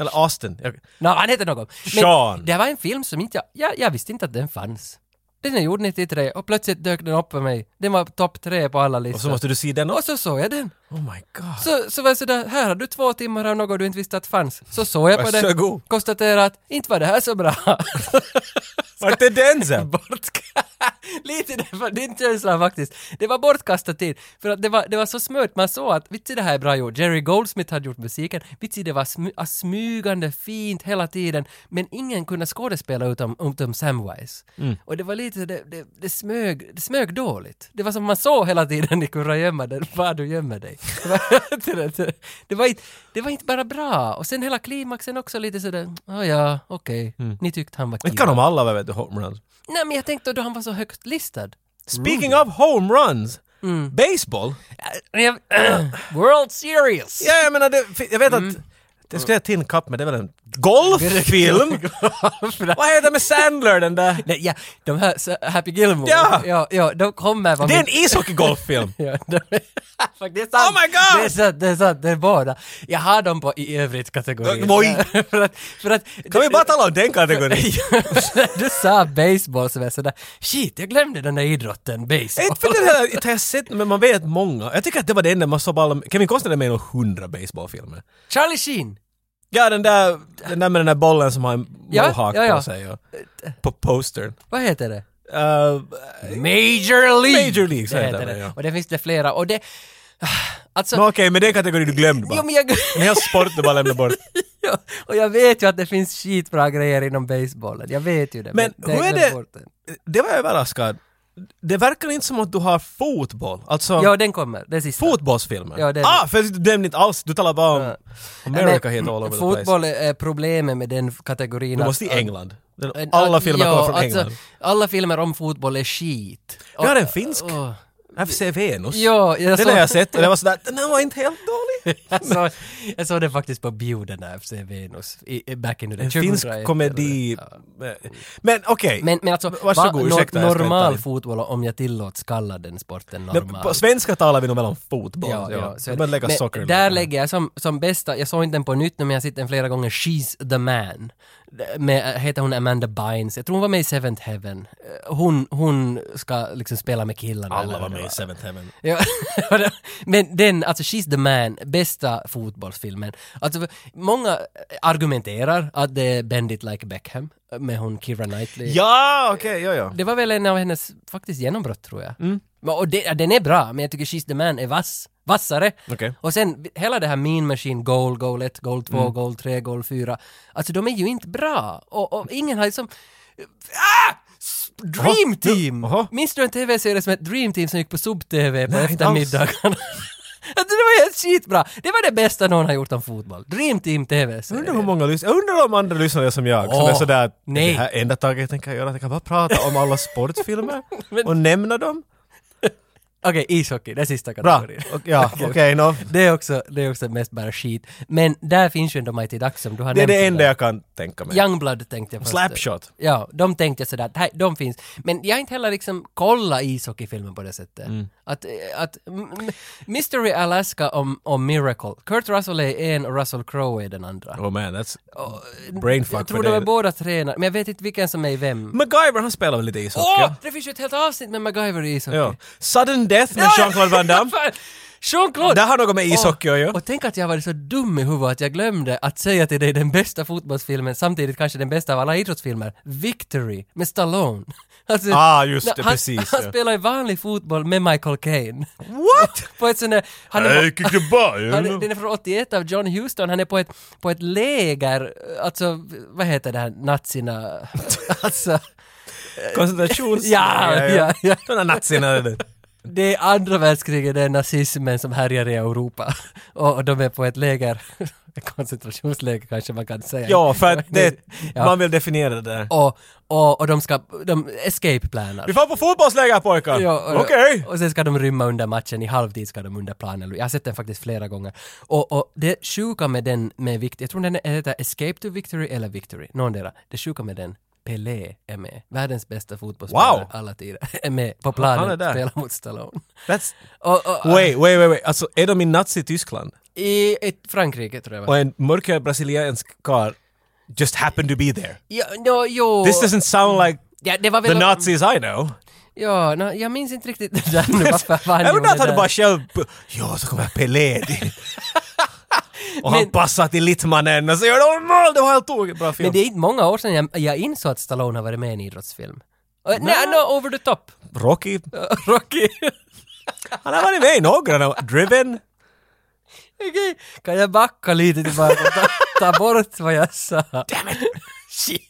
Eller Austin. Jag- Nå, han heter något. Men Sean. Det var en film som inte jag, jag, jag visste inte att den fanns. Den är gjord 93 och plötsligt dök den upp för mig. Den var topp tre på alla listor. Och så måste du se den och också. så såg jag den. Oh my god. Så, så var jag sådär, här har du två timmar av något du inte visste att fanns. Så såg jag på det, Varsågod. konstaterade att inte var det här så bra. Vart är Denzel? Bortka- Lite det var din känsla faktiskt. Det var bortkastad tid. För att det var, det var så smört, man såg att vitsi det här är bra gjort. Jerry Goldsmith hade gjort musiken, vitsi det var smy, ah, smygande fint hela tiden. Men ingen kunde skådespela utom, utom Samwise. Mm. Och det var lite, det, det, det, smög, det smög dåligt. Det var som man såg hela tiden, ni kunde gömma dig, var du gömmer dig. Det var, det, var inte, det var inte bara bra. Och sen hela klimaxen också lite sådär, oh ja, okej, ni tyckte han var Det Mm. kan de alla vad vet du, homeruns. Nej men jag tänkte då han var så högt listad. Speaking of homeruns. Mm. Baseball? World Series! Ja, jag menar, det, jag vet Mm. att... Jag skulle säga Tin Cup, men det är väl en golffilm? Vad heter det med Sandler, den där? Nej, ja, de här så, Happy Gilmore, Ja. ja, ja de kommer vara Det är min- en ishockeygolffilm! Ja, de, Fuck, det är sant! Oh my God! Det är sant, det är sant, det är båda. Jag har dem på i övrigt kategorin. Oj. för att, för att, Kan vi bara tala om den kategorin? du sa baseball så var jag sådär, shit, jag glömde den där idrotten, baseball. Inte för att jag- inte har jag sett, men man vet många. Jag tycker att det var det enda man såg på alla... Kevin Costner är med i nog hundra baseballfilmer. Charlie Sheen! Ja, den där, den där med den där bollen som har en Ja, mohawk ja, ja. på sig. Och, på postern. Vad heter det? Uh, Major League! Major League, så det heter heter den, det. ja. Och det finns det flera, och det... Alltså... men okej, men den kategorin du glömde bara. Jo, men jag... En hel sport du bara lämnade bort. Ja, och jag vet ju att det finns skitbra grejer inom basebollen. Jag vet ju det. Men jag hur är glömde det- bort den. Det var jag överraskad. Det verkar inte som att du har fotboll. Alltså, Ja, den kommer. Det är sista. fotbollsfilmer. Ja, det är ah, för du nämnde inte alls. Du talar bara om America helt all over the place. Fotboll är problemet med den kategorin. Du att- måste i England. Den- att- Alla att- filmer ja, kommer från alltså, England. Alla filmer om fotboll är skit. Vi har en finsk. Åh. FC Venus. Ja, alltså- jag Den såg- har jag sett och det var sådär, den här var inte helt dålig. Jag såg, jag såg det faktiskt på Bio, den där FC Venus, i, i back in the day. En finsk 2001. komedi. Men okej. Men, men alltså, Varsågod, va- ursäkta, jag ska inte ta normal in. fotboll, om jag tillåts kalla den sporten Men normal. på svenska talar vi nog väl om fotboll. Ja, ja. så är det. Men lägga socker. där lägger jag som, som bästa, jag såg inte den på nytt nu men jag har sett den flera gånger, She's the man. Med, äh, heter hon Amanda Bynes, jag tror hon var med i Seventh Heaven. Eh, Hon, hon ska liksom spela med killarna. Alla eller var vad med det i Seventh Heaven. Ja, men den, alltså She's the Man, bästa fotbollsfilmen. Alltså, många argumenterar att det är Bend it like Beckham med hon Keira Knightley. Ja, okej, ja, ja. Det var väl en av hennes faktiskt genombrott tror jag. Mm. Men- Och det, ja, den är bra, men jag tycker She's the Man är vass. Vassare. Okej. Mm. Och sen hela det här Mean Machine, Goal, Goal 1, Goal 2, Goal 3, Goal 4. Alltså de är ju inte bra. Och, och ingen har liksom... Ah! S- Dream Jaha, Team! nu- jaha. Minns du en TV-serie som hette Dream Team som gick på sub-TV på Nej, inte alls. eftermiddagarna? Alltså, det var helt skitbra. Det var det bästa någon har gjort om fotboll. Dream Team Jag TV-serien. undrar hur många lyssnare, jag undrar om andra lyssnare är som jag, som Åh, är sådär att nej. det här enda taget jag kan göra, är att jag kan bara prata om alla sportfilmer Men- och nämna dem. Okej, ishockey, det är sista Bra! kategorin. Och, ja, okej, nå. Det är också, det är också mest bara skit. Men där finns ju ändå Mighty Ducks som du har Det är nämnt. det enda innan. jag kan tänka mig. Youngblood tänkte jag först. Slapshot. Ja, de tänkte jag sådär, "Nej, de finns. Men jag har inte heller liksom kollat ishockeyfilmen på det sättet. Mm. Att, eh, att m- m- Mystery Alaska om, om Miracle. Kurt Russell är en och Russell Crowe är den andra. Oh man, that's jag brainfuck för tror de dig. är båda tränare, men jag vet inte vilken som är vem. MacGyver, han spelar väl lite ishockey? Åh! ja? Det finns ju ett helt avsnitt med MacGyver i ishockey. Ja. Sudden Death med Jean-Claude Van Damme. Fan, Jean-Claude! Det har något med ishockey att göra. Och, och tänk att jag var så dum i huvudet att jag glömde att säga till dig den bästa fotbollsfilmen, samtidigt kanske den bästa av alla idrottsfilmer, Victory med Stallone. Alltså, Ah, just det, han, precis, Han ja. spelar i vanlig fotboll med Michael Caine. What? Äh, På ett sånt där... Han är, gick tillbaka. han, är- den är från 81 av John Huston, han är på ett, på ett läger, alltså vad heter det här, nazierna... alltså... Koncentrations... Ja, ja, ja. De där nazierna. det- Det är andra världskriget, det är nazismen som härjar i Europa. Och, och de är på ett läger, ett koncentrationsläger kanske man kan säga. Ja, för att det... Ja. Man vill definiera det där. Och, och, och de ska, de escape-planar. Vi får på fotbollsläger pojkar! Ja, och- Okej! Och sen ska de rymma under matchen, i halvtid ska de under planen. Jag har sett den faktiskt flera gånger. Och, och det sjuka med den, med vikt, jag tror den heter Escape to Victory eller Victory, någondera. Det sjuka med den, Pelé är med. Världens bästa fotbollsspelare Wow. alla tider. Är med på Han är planen, där. spelar mot Stallone. That's... Och, och, Wait, wait, wait, wait. Alltså, är de i Nazi-Tyskland? I ett Frankrike tror jag va? Och en mörkhyad brasiliansk karl just happened to be there? Ja, no, jo. This doesn't sound like ja, det var väl... the Nazis I know. Ja, no, jag minns inte riktigt det där nu varför han Jag undrar gjorde att han det bara där. själv... er. Ja, så kommer Pelé dit. Och han Men- passar till Littmanen och så gör de mål! Det var helt tokigt bra film. Men det är inte många år sedan jag, jag insåg att Stallone har varit med i en idrottsfilm. Och- Nej, no, over the top. Rocky. Rocky. Han har varit med i några nu. Driven. Okej, kan jag backa lite tillbaka och ta, ta bort vad jag sa? Damn it.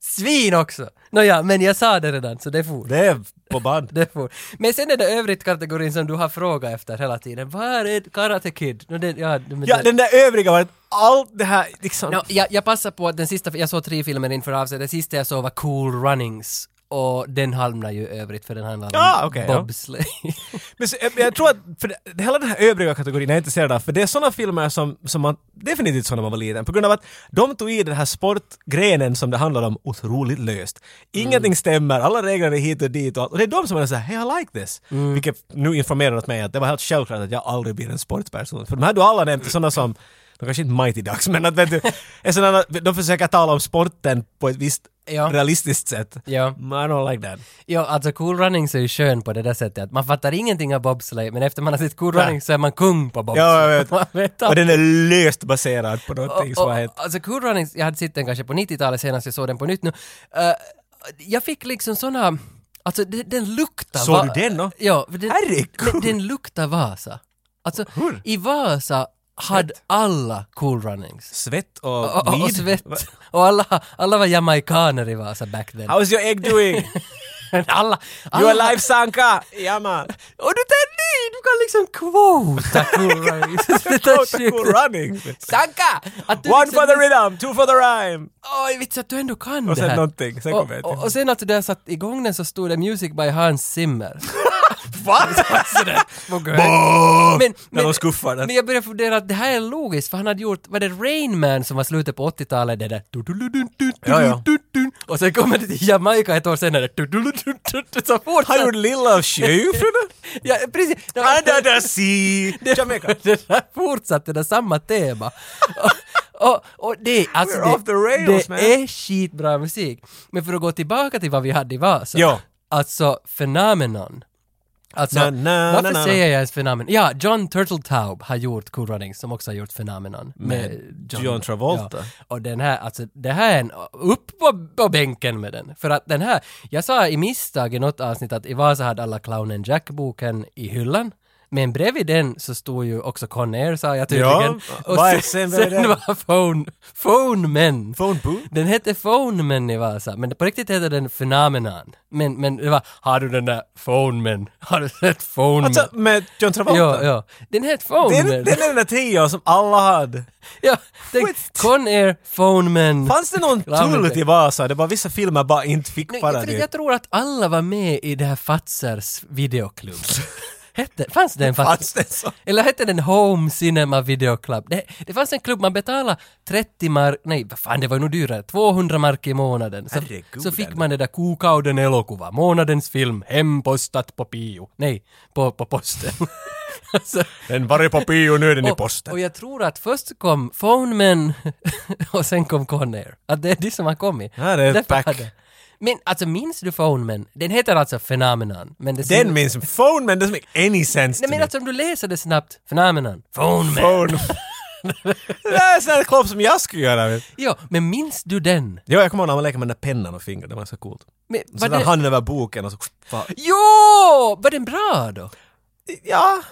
Svin också! Nåja, men jag sa det redan så det får. Det är på band. Det får. Men sen är det övrigt kategorin som du har frågat efter hela tiden. Var är Karate Kid? No, det, ja, men Ja, det- den där övriga var allt det här liksom... No, jag, jag passar på att den sista, jag såg tre filmer inför avsnittet, den sista jag såg var Cool Runnings och den hamnar ju i övrigt för den handlar om Ja, okej, ja. bobsleigh. Men så, jag, jag tror att för det- hela den här övriga kategorin är jag intresserad av, för det är sådana filmer som, som man definitivt såg när man var liten, på grund av att de tog i den här sportgrenen som det handlar om otroligt löst. Ingenting Mm. stämmer, alla regler är hit och dit och, allt. och det är de som är såhär “Hey, I like this”, Mm. vilket nu informerar åt mig att det var helt självklart att jag aldrig blir en sportperson. För de här du alla nämnt är sådana som de kanske inte Mighty Ducks, men att vet du, är sådana, de försöker tala om sporten på ett visst Ja. realistiskt sätt. ja. I don't like that. ja, alltså Cool Runnings är ju skön på det där sättet att man fattar ingenting av bobsleigh men efter man har sett Cool Nej. Runnings så är man kung på bobsleigh. Ja, jag vet. Man vet Och allt. den är löst baserad på någonting som har hänt. alltså Cool Runnings, jag hade sett den kanske på 90-talet senast, jag såg den på nytt nu. Eh, jag fick liksom såna, alltså den, den luktar... Såg va- du den då? Ja. för Den, Herregud. men den luktar Vasa. Alltså, Hur? i Vasa hade alla Cool Runnings. Svett och Och, och, och weed? svett. Va- Och alla, alla var jamaikaner i Vasa back then. How's your egg doing? Alla, alla. You alive Sanka? Ja man. Och du tar ny! Du kan liksom quota Cool Runnings. Det är Quote sjukt. cool running. Sanka! Att du One liksom- for the rhythm, two for the rhyme. Oj, vits att du ändå kan Och det sen här. någonting, sen och, kommer jag och, till. och sen alltså, där jag satte igång den så stod det Music by Hans Zimmer. Va? Vad gött. Men, Men- När de men- skuffar den. Men jag började fundera att det här är logiskt, för han hade gjort, var det Rain Man som var slutet på 80-talet, det där du-du-du-du-du-du-du-du. Ja, ja. och sen kommer det till Jamaica ett år senare, du-du-du-du-du-du, så fort Han gjorde Lilla Sjöjungfrun? Ja, precis! Det var- Under the sea! Jamaica. det där fortsatte, det där samma tema. och, och, och det, alltså We're off the det, rails, det man. är skitbra musik. Men för att gå tillbaka till vad vi hade i Vasa, Ja. alltså Phenomenon. Alltså, Na, na, varför na, na, na. säger jag ens Phenomenon? Ja, John Turteltaub har gjort Cool Runnings som också har gjort Phenomenon. Med, John Travolta. Ja. Och den här, alltså det här är en, upp på, på bänken med den. För att den här, jag sa i misstag i något avsnitt att i Vasa hade alla Clownen Jack-boken i hyllan. Men bredvid den så stod ju också Conair sa jag Ja, tydligen. vad är- sen, sen sen, var det den? var Phone, Phone Men. Phone booth? Den hette Phone Men i Vasa, men på riktigt hette den Phenomenon. Men, men det var, har du den där Phone Men? Har du sett Phone Alltså Men? med John Travolta? Ja, ja. Den hette Phone Den, Men. den är den där trion som alla hade. Ja, tänk, Conair, Phone Men. Fanns det någon Glöm tull inte. till Vasa? Det var vissa filmer bara inte Nej, fick jag, vara tror- dit. jag tror att alla var med i det här Fazers videoklubb. Hette, fanns det en Fanns Fazers? det så? Eller hette den Home Cinema Video Club? Det, det fanns en klubb, man betalade 30 mark, nej vad fan det var nog dyrare, 200 mark i månaden. Så, Herregud, så fick man det där kuukauden elokuva, månadens film, hempostat på bio. Nej, på, på posten. alltså, Den var ju på bio, nu är den i och posten. jag tror att först kom Phone Men och sen kom Conair. Att det är de som har kommit. Ja, det är ett Därför pack. hade- Men alltså minns du Phone Men? Den heter alltså Phenomenon. Men det Den minns jag. Phone man doesn't make any sense Nej to men me. alltså om du läser det snabbt, Phenomenon, Phone Man. Phone. det där är en sån här klopp som jag skulle göra. vet du. Ja, men minns du den? Jo, jag kommer ihåg när man leker med den där pennan och fingret, det var så coolt. Men, Så var den den... handen över boken och så... Jo! Var den bra då? Ja.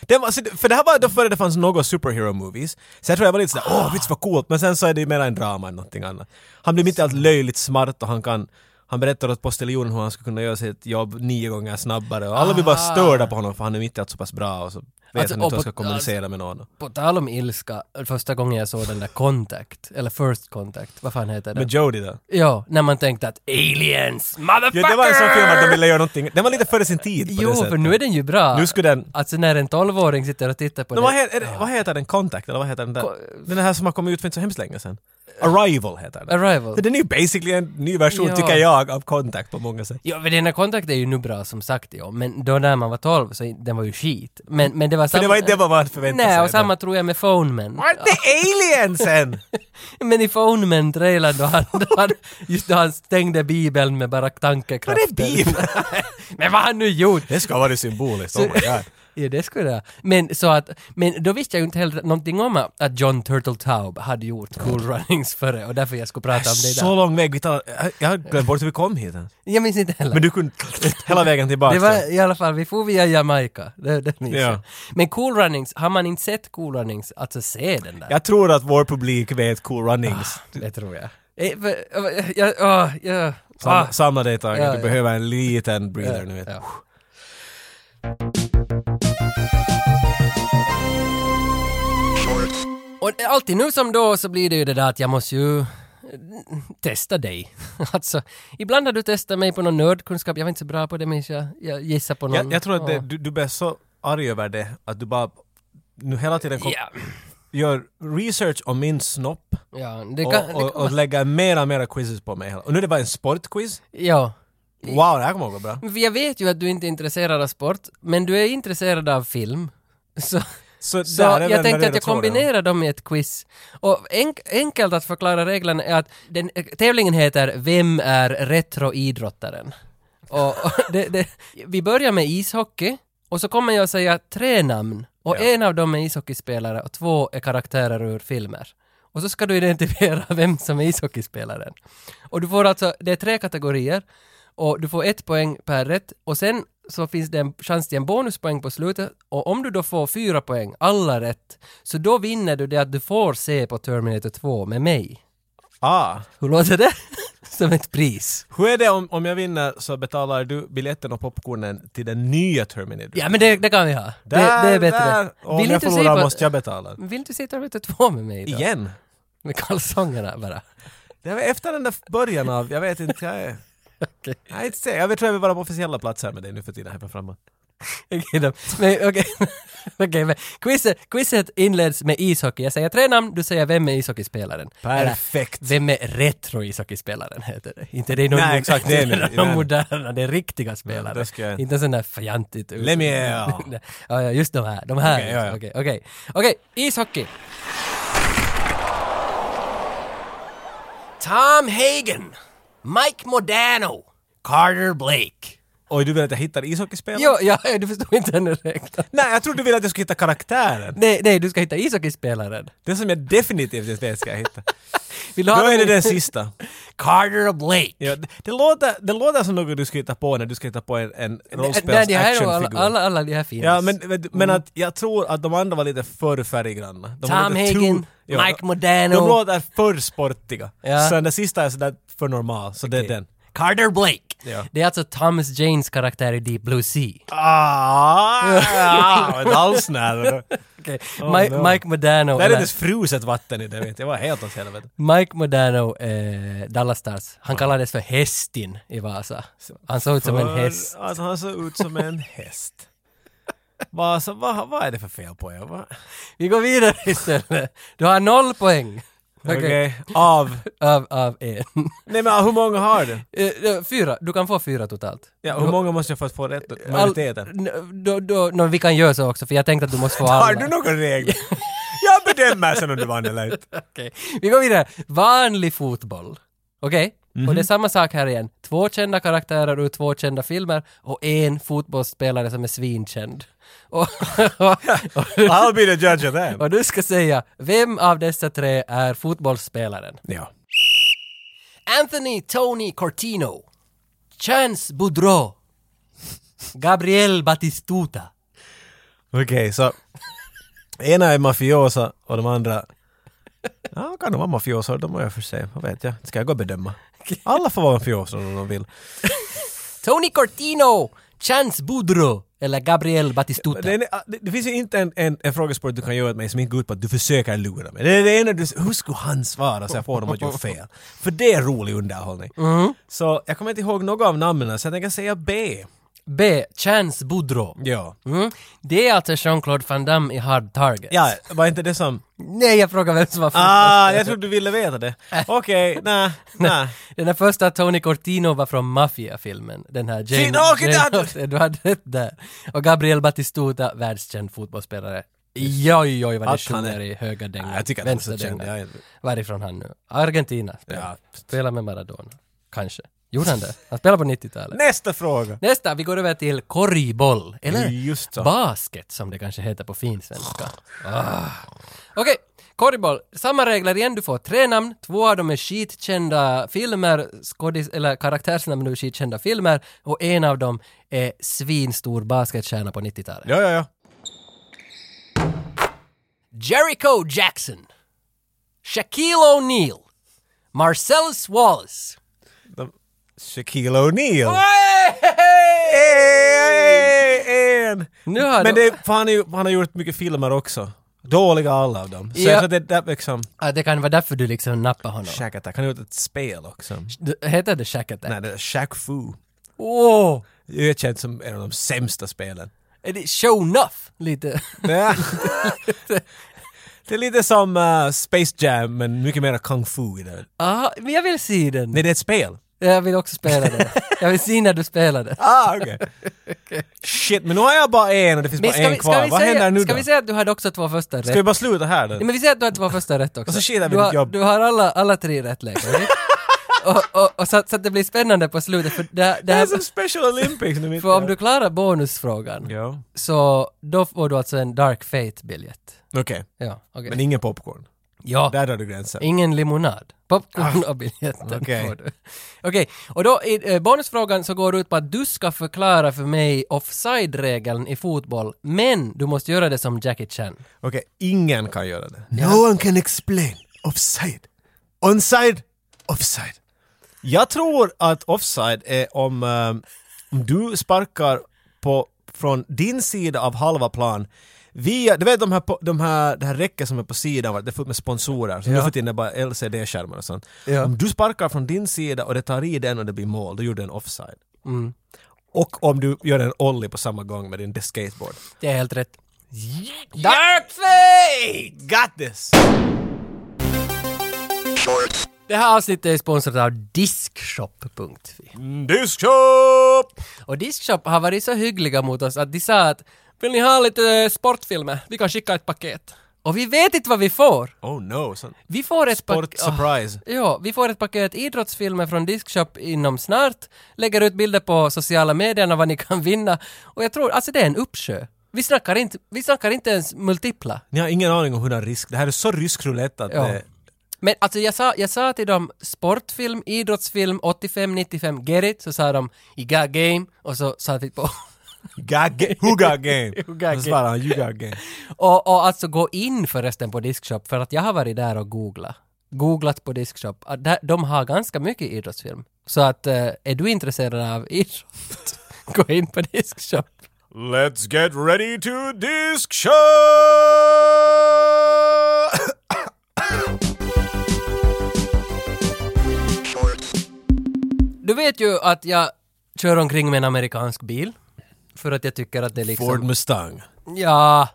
Den var, så det- för det här var då före det fanns några superhero movies. Så jag tror jag var lite sådär, åh, vits vad coolt. Men sen så är det ju mer en drama än någonting annat. Han blir mitt i allt löjligt smart och han kan han berättar åt postiljonen hur han skulle kunna göra sitt jobb nio gånger snabbare och alla blir bara störda på honom för han är mitt i allt så pass bra och så vet Ah. Alltså, han inte hur och han ska på- kommunicera med någon. På tal om ilska, första gången jag såg den där Contact, eller First Contact, vad fan heter den? Med Jodie då? Ja, när man tänkte att aliens, motherfucker! Ja, det var en sån film att de ville göra någonting, den var lite före sin tid på Jo, det sättet. för nu är den ju bra. Nu skulle den- Alltså när en tolvåring sitter och tittar på No, vad, den. heter, är det, vad heter den? Contact? Eller vad heter den där? Den här som har kommit ut för inte så hemskt länge sedan. Arrival heter den. Arrival. Men Den är ju basically en ny version, Ja. tycker jag, av Contact på många sätt. Ja, men den här kontakten är ju nu bra som sagt, ja. Men då när man var 12 så den var ju skit. Men, men det var samma... För det var inte det vad man förväntade sig. Nej, och samma tror jag med Phoneman. Var inte aliensen? Men i Phoneman-trailern då han, då han... Just då han stängde bibeln med bara Var tankekraften. det Bibeln? men vad han nu gjort! Det ska vara symboliskt, oh my god. Ja, det skulle jag. Men så att... Men då visste jag ju inte heller någonting om att John Turtle Taub hade gjort Cool Runnings före och därför jag skulle prata om det Så idag. lång väg vi tar. Jag har glömt bort hur vi kom hit ens. Jag minns inte heller. Men du kunde hela vägen tillbaka. Det var i alla fall, vi får via Jamaica. Det, det minns Ja. jag. Men Cool Runnings, har man inte sett Cool Runnings, alltså se den där. Jag tror att vår publik vet Cool Runnings. Det tror jag. Eh, för- eh, Jag, åh, jag, Samla, ah, samla dig Tage, Ja, du ja. behöver en liten breather nu. Vet. du. ja. shorts, Och alltid nu som då så blir det ju det där att jag måste ju eh, testa dig. alltså, ibland har du testat mig på någon nördkunskap, jag var inte så bra på det men jag, jag gissar på någon. Jag, jag tror att det, Ja. du, du blir så arg över det att du bara nu hela tiden kom, Ja, gör research om min snopp ja, det och, kan... det och, kan och lägger mera mera quizzes på mig. Och nu är det bara en sportquiz. ja. Wow, det här kommer att gå bra. För Jag vet ju att du inte är intresserad av sport, men du är intresserad av film. Så... Så, Så där är jag den tänkte att röda jag tråden. kombinerar dem i ett quiz. Och enk- enkelt att förklara reglerna är att den, eh, tävlingen heter Vem är retroidrottaren? Och, och det, det, vi börjar med ishockey och så kommer jag säga tre namn och Ja. en av dem är ishockeyspelare och två är karaktärer ur filmer. Och så ska du identifiera vem som är ishockeyspelaren. Och du får alltså, det är tre kategorier och du får ett poäng per rätt och sen så finns det en chans till en bonuspoäng på slutet och om du då får fyra poäng, alla rätt, så då vinner du det att du får se på Terminator 2 med mig. Ah, Hur låter det? Som ett pris. hur är det om, om jag vinner så betalar du biljetten och popcornen till den nya Terminator? Ja men det, det kan vi ha. Det, det Där, är bättre. Där. Och om jag inte se förlorar på- måste jag betala. Vill du se Terminator 2 med mig då? Igen? Med kalsongerna bara. Det var efter den där början av, jag vet inte, jag är... Okej. Jag, är inte säker. jag vet- tror jag vill vara på officiella platser med dig nu för tiden här framåt. Okej då. Men okej. Okej, men quizet, quizet inleds med ishockey. Jag säger tre namn, du säger vem är ishockeyspelaren. Eller, Perfekt! Vem är retro-ishockeyspelaren heter det? Inte det är någon, Nej, exakt, det är inte det. någon Nej. moderna, det är riktiga spelare. det ska jag- Inte sån där fjantigt... ut- Lemieux. ja, ja, just de här. De här. Okej, ja, ja. Okej, okej. Okej, ishockey. Tom Hagen. Mike Modano. Carter Blake. Oj, du vill att jag hittar ishockeyspelare? Jo, ja, du förstod inte ännu reglerna. Nej, jag trodde du ville att jag skulle hitta karaktären. Nej, nej, du ska hitta ishockeyspelaren. Det som jag definitivt inte vet ska jag hitta. Vill du Då ha är det dem i- den sista. Carter och Blake. Ja, det, det, låter, det låter som något du ska hitta på när du ska hitta på en, en Nej, de här är nog alla, rollspels-actionfigur. alla, alla de här finns. Ja, men, men, men att jag tror att de andra var lite för färggranna. De var Tom lite too- Hagen, Ja, Mike De Modano, låter för sportiga. Ja. Sen den sista är sådär för normal, så det är den. Carter Blake. Ja. Det är alltså Thomas Janes karaktär i Deep Blue Sea. Ah, ja, inte alls nära. Okej. Oh, Mi- no. Mike Modano. Det är eller- inte ens fruset vatten i det, vet jag. Det var helt åt helvete. Mike Modano, eh, Dallas Stars, han kallades för hästin i Vasa. Han såg ut som en häst. För Att alltså, han såg ut som en häst. Vad, så, vad, vad är det för fel på er? Va? Vi går vidare istället. Du har noll poäng. Okej. Okej, av... Av, av en. Nej men ah, hur många har du? Eh, eh, fyra. Du kan få fyra totalt. Ja, hur många måste jag för att få rätt? Majoriteten? N- Då, då, nå, vi kan göra så också, för jag tänkte att du måste få alla. Har du några regler? Jag bedömer sen om du vann eller inte. Okej. Vi går vidare. Vanlig fotboll. Okej? Och det är samma sak här igen. Två kända karaktärer ur två kända filmer och en fotbollsspelare som är svinkänd. Och, I'll be the judge of that. och du ska säga, vem av dessa tre är fotbollsspelaren? Ja. Anthony Tony Cortino. Chance Boudreau. Gabriel Batistuta. Okej, så... Ena är mafiosa och de andra... Ja, kan de vara mafiosor, de må jag för sig. Vad vet jag? Ska jag gå och bedöma? Alla får vara mafiosor om de vill. Tony Cortino. Chance Boudreau. Eller Gabriel Batistuta. Det, är- ah, det, det finns ju inte en, en, en frågesport du kan göra åt mig som inte går ut på att du försöker lura mig. Det är det ena du... Hur skulle han svara så jag får dem att göra fel? För det är rolig underhållning. Så jag kommer inte ihåg några av namnen så jag tänker säga B. B. Chance Boudreau. Ja. Mm. Det är alltså Jean-Claude Van Damme i Hard Target. Ja, var inte det som... Nej, jag frågar vem som var först. Ah, jag trodde du ville veta det. Okej, nä, nä. Den där första Tony Cortino var från Mafia-filmen. Den här Jane... Fin- Okej, där- du hade rätt där. Och Gabriel Batistuta, världskänd fotbollsspelare. Joj, oj, vad det Att han är- sjunger i höga dängan. Nej, jag tycker att han är så Vänster känd. Jag dängan. är- Varifrån han nu? Argentina. Ja. Spelar, spelar med Maradona. Kanske. Gjorde han det? Han spelade på 90-talet. Nästa fråga! Nästa, vi går över till korgboll. Eller Just så. basket som det kanske heter på finsvenska. Ah. Okej, korgboll. Samma regler igen, du får tre namn. Två av dem är skitkända filmer, skådis, eller karaktärsnamn ur skitkända filmer. Och en av dem är svinstor basketstjärna på 90-talet. Ja, ja, ja. Jericho Jackson. Shaquille O'Neal. Marcellus Wallace. De, Shaquille O'Neal. En! Nu har Men de- det, är- för han, är, ju- han har gjort mycket filmer också. Dåliga alla av dem. Så Ja. jag tror det är där liksom... Ah, det kan vara därför du liksom nappar honom. Shack Attack. Han har gjort ett spel också. D- Heter det Shaq Attack? Nej, det är Shack Fu. Åh! Det är känt som en av de sämsta spelen. Är det show enough? Lite. Ja. det är lite som eh, Space Jam, men mycket mer Kung Fu i det. Ah, men jag vill se den. Nej, det är ett spel. Jag vill också spela den. Jag vill se när du spelar den. Ah, okej. Shit, men nu har jag bara en och det finns bara en kvar. Vad händer nu ska då? vi säga att du hade också två första rätt? Ska vi bara sluta här då? Nej, men vi säger att du hade två första rätt också. Och så skitar vi du, har, ditt jobb. du har alla, alla tre rätt läkare. right? och, och, och så, att- så att det blir spännande på slutet. För, det, det Det är här, som Special Olympics nu mitt för om du klarar bonusfrågan Ja. så då får du alltså en Dark Fate-biljett. Okej, Ja, okej. men ingen popcorn. Ja. Där drar du gränsen. Ingen limonad. Popcorn och biljetten Okej. får du. Okej, och då i eh, bonusfrågan så går det ut på att du ska förklara för mig offside-regeln i fotboll, men du måste göra det som Jackie Chan. Okej, ingen kan göra det. No one can explain. Offside. Onside. Offside. Jag tror att offside är om, ehm, om du sparkar på, från din sida av halva plan via, du vet de här, po- de här, det här räcket som är på sidan, va? det är fullt med sponsorer, som Ja. nu för tiden är bara LCD-skärmar och sånt. Ja. Om du sparkar från din sida och det tar i den och det blir mål, då gjorde du en offside. Mm. Och om du gör en ollie på samma gång med din skateboard. Det är helt rätt. Dark Fate! Got this! Shorts. Det här avsnittet är sponsrat av Diskshop.fi. Diskshop! Och Diskshop har varit så hyggliga mot oss att de sa att vill ni ha lite eh, sportfilmer? Vi kan skicka ett paket. Och vi vet inte vad vi får. Oh no, sån Vi får ett sport paket... surprise. Ja, vi får ett paket idrottsfilmer från Diskshop inom snart, lägger ut bilder på sociala medierna vad ni kan vinna och jag tror, alltså det är en uppsjö. Vi snackar inte, vi snackar inte ens multipla. Ni har ingen aning om hur den risk... Det här är så rysk roulette att eh, Ja. det... Men alltså jag sa, jag sa till dem sportfilm, idrottsfilm, 85, 95, get it? Så sa de I got game och så sa vi på Got ga- who got game? got Så svarade han, you got game. och, och alltså gå in förresten på Diskshop för att jag har varit där och googlat. Googlat på Diskshop. Ah, där- De har ganska mycket idrottsfilm. Så att eh, är du intresserad av idrott, gå in på Diskshop. Let's get ready to disc show! shorts, Du vet ju att jag kör omkring med en amerikansk bil. För att jag tycker att det är liksom... Ford Mustang. Ja,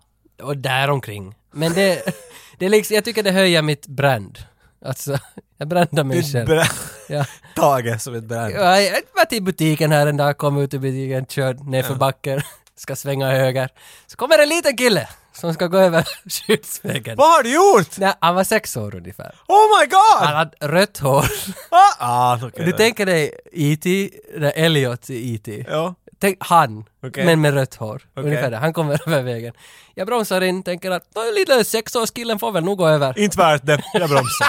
och däromkring. Men det, det är liksom, jag tycker det höjer mitt brand. Alltså, jag brandar mig själv. Ja. Tage som ett brand. Ja, Jag var till butiken här en dag, kom ut ur butiken, körde nerför backen, ska svänga höger. Så kommer en liten kille som ska gå över skyddsvägen. Vad har du gjort? Nej, han var sex år ungefär. Oh my god! Han hade rött hår. Ah, ah, okej. Du tänker dig E.T., eller Elliot i E.T. Ja. Tänk han, Okej. men med rött hår. Okej. Ungefär det. Han kommer över vägen. Jag bromsar in, tänker att "Nå, lilla sexårskillen får väl nog gå över. Inte värt det. Jag bromsar.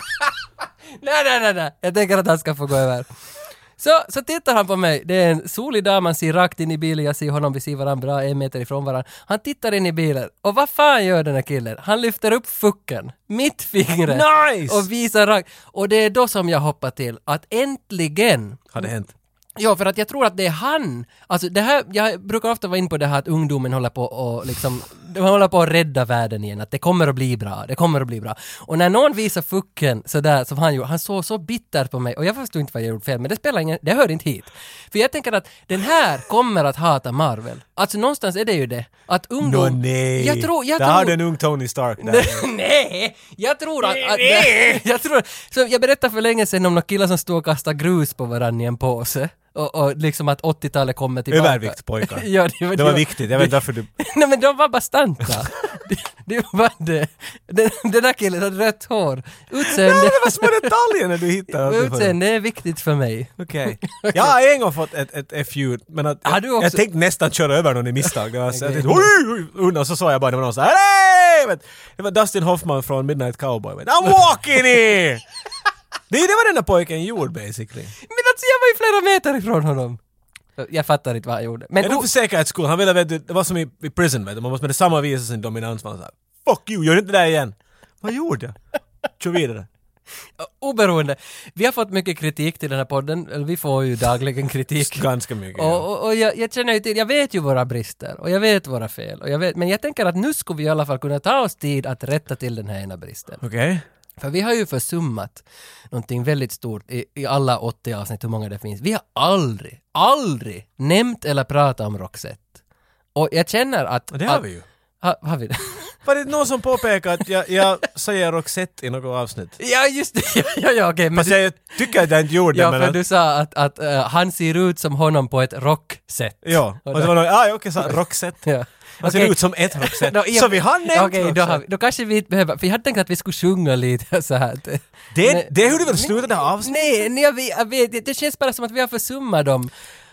Nej, nej, nej, nej. Jag tänker att han ska få gå över. Så, så tittar han på mig. Det är en solig dag, man ser rakt in i bilen, jag ser honom, vi ser varandra bra, en meter ifrån varandra. Han tittar in i bilen. Och vad fan gör den här killen? Han lyfter upp fucken, mitt fingret. Nice! Och visar rakt. Och det är då som jag hoppar till, att äntligen har det hänt? Ja, för att jag tror att det är han. Alltså det här, jag brukar ofta vara in på det här att ungdomen håller på och liksom, de håller på att rädda världen igen, att det kommer att bli bra, det kommer att bli bra. Och när någon visar fucken sådär som han gjorde, han såg så bittert på mig och jag förstod inte vad jag gjort fel, men det spelar ingen, det hör inte hit. För jag tänker att den här kommer att hata Marvel. Alltså någonstans är det ju det, att ungdom... Nå nej! Jag tror, jag Där tror... har du en ung Tony Stark där. Nej! Jag tror att... att jag tror... Så jag berättade för länge sedan om några killar som stod och kastade grus på varandra i en påse. Och, och liksom att 80-talet kommer tillbaka. Övervikt pojkar. ja, det, Det var viktigt, jag vet inte varför du... Nej men de var bastanta. det, det var det. Den, den där killen hade rött hår. Ja, Utseende... det var små detaljer när du hittade. allt det. Utseende är viktigt för mig. Okej. Jag har en gång fått ett, ett, FU, men att, Har du också- jag tänkte nästan köra över någon i misstag. Det var så, jag Okej. tänkte, "Oj, oj, oj", och så såg jag bara det var någon så här, "Hej!" Vet, Det var Dustin Hoffman från Midnight Cowboy. Vet, I'm walking here! det är ju det vad den där pojken gjorde basically. Men alltså jag var ju flera meter ifrån honom. Jag fattar inte vad han gjorde. Men Jag tror för säkerhetsskolan, han ville vet du, det var som i, i prison vet du, man måste med detsamma visa sin dominans. Man så här, Fuck you, gör inte det där igen! Vad gjorde jag? Kör vidare. oberoende. Vi har fått mycket kritik till den här podden, eller vi får ju dagligen kritik. Ganska mycket. Och, ja. och, och jag, jag känner ju till, jag vet ju våra brister och jag vet våra fel. Och jag vet, men jag tänker att nu skulle vi i alla fall kunna ta oss tid att rätta till den här ena bristen. Okej? För vi har ju försummat någonting väldigt stort i, i alla 80 avsnitt, hur många det finns. Vi har aldrig, aldrig nämnt eller pratat om Roxette. Och jag känner att... Och det har att- vi ju. Ha, har vi det? Var det någon som påpekade att jag, jag säger Roxette i något avsnitt? ja, just det. Ja, ja, ja okej. men Fast du, jag tycker att jag inte gjorde ja, det för men... du sa att, att eh, han ser ut som honom på ett rocksätt. att, ja, och det var någon, ah, okej, så här, Roxette. Ja. Han ser Okej. ut som ett Roxette. Då, ja, så vi har nämnt Okej, då, har Roxette. vi- då kanske vi inte behöver, för jag hade tänkt att vi skulle sjunga lite så här. Det, det är hur du vill sluta det här avsnittet. Nej, nej jag, vet, jag vet, det känns bara som att vi har försummat dem.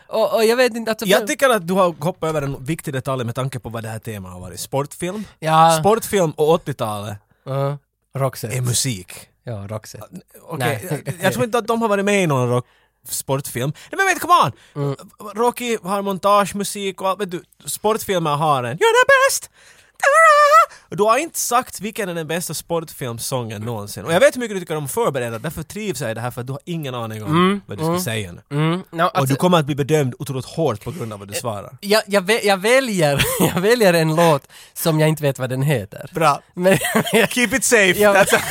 Och, och jag vet inte, alltså... Jag tycker att du har hoppat över en viktig detalj med tanke på vad det här temat har varit. Sportfilm. ja, Sportfilm och 80-talet Ja, Roxette. är musik. Ja, Roxette. Okej, Nej. jag- jag tror inte att de har varit med i någon rock sportfilm. Nej men vet come on! Mm. Rocky har montagemusik och allt, vet du, sportfilmer har en “You're the best!” Ta-da! Och du har inte sagt vilken är den bästa sportfilmsången någonsin. Och jag vet hur mycket du tycker om att förbereda, därför trivs jag i det här för att du har ingen aning om vad du ska säga nu. Mm, no, Och alltså, Eh, du kommer att bli bedömd otroligt hårt på grund av vad du svarar. jag, jag, vä- jag, väljer, jag väljer en låt som jag inte vet vad den heter. Bra! Men, Keep it safe! Ja. That's a-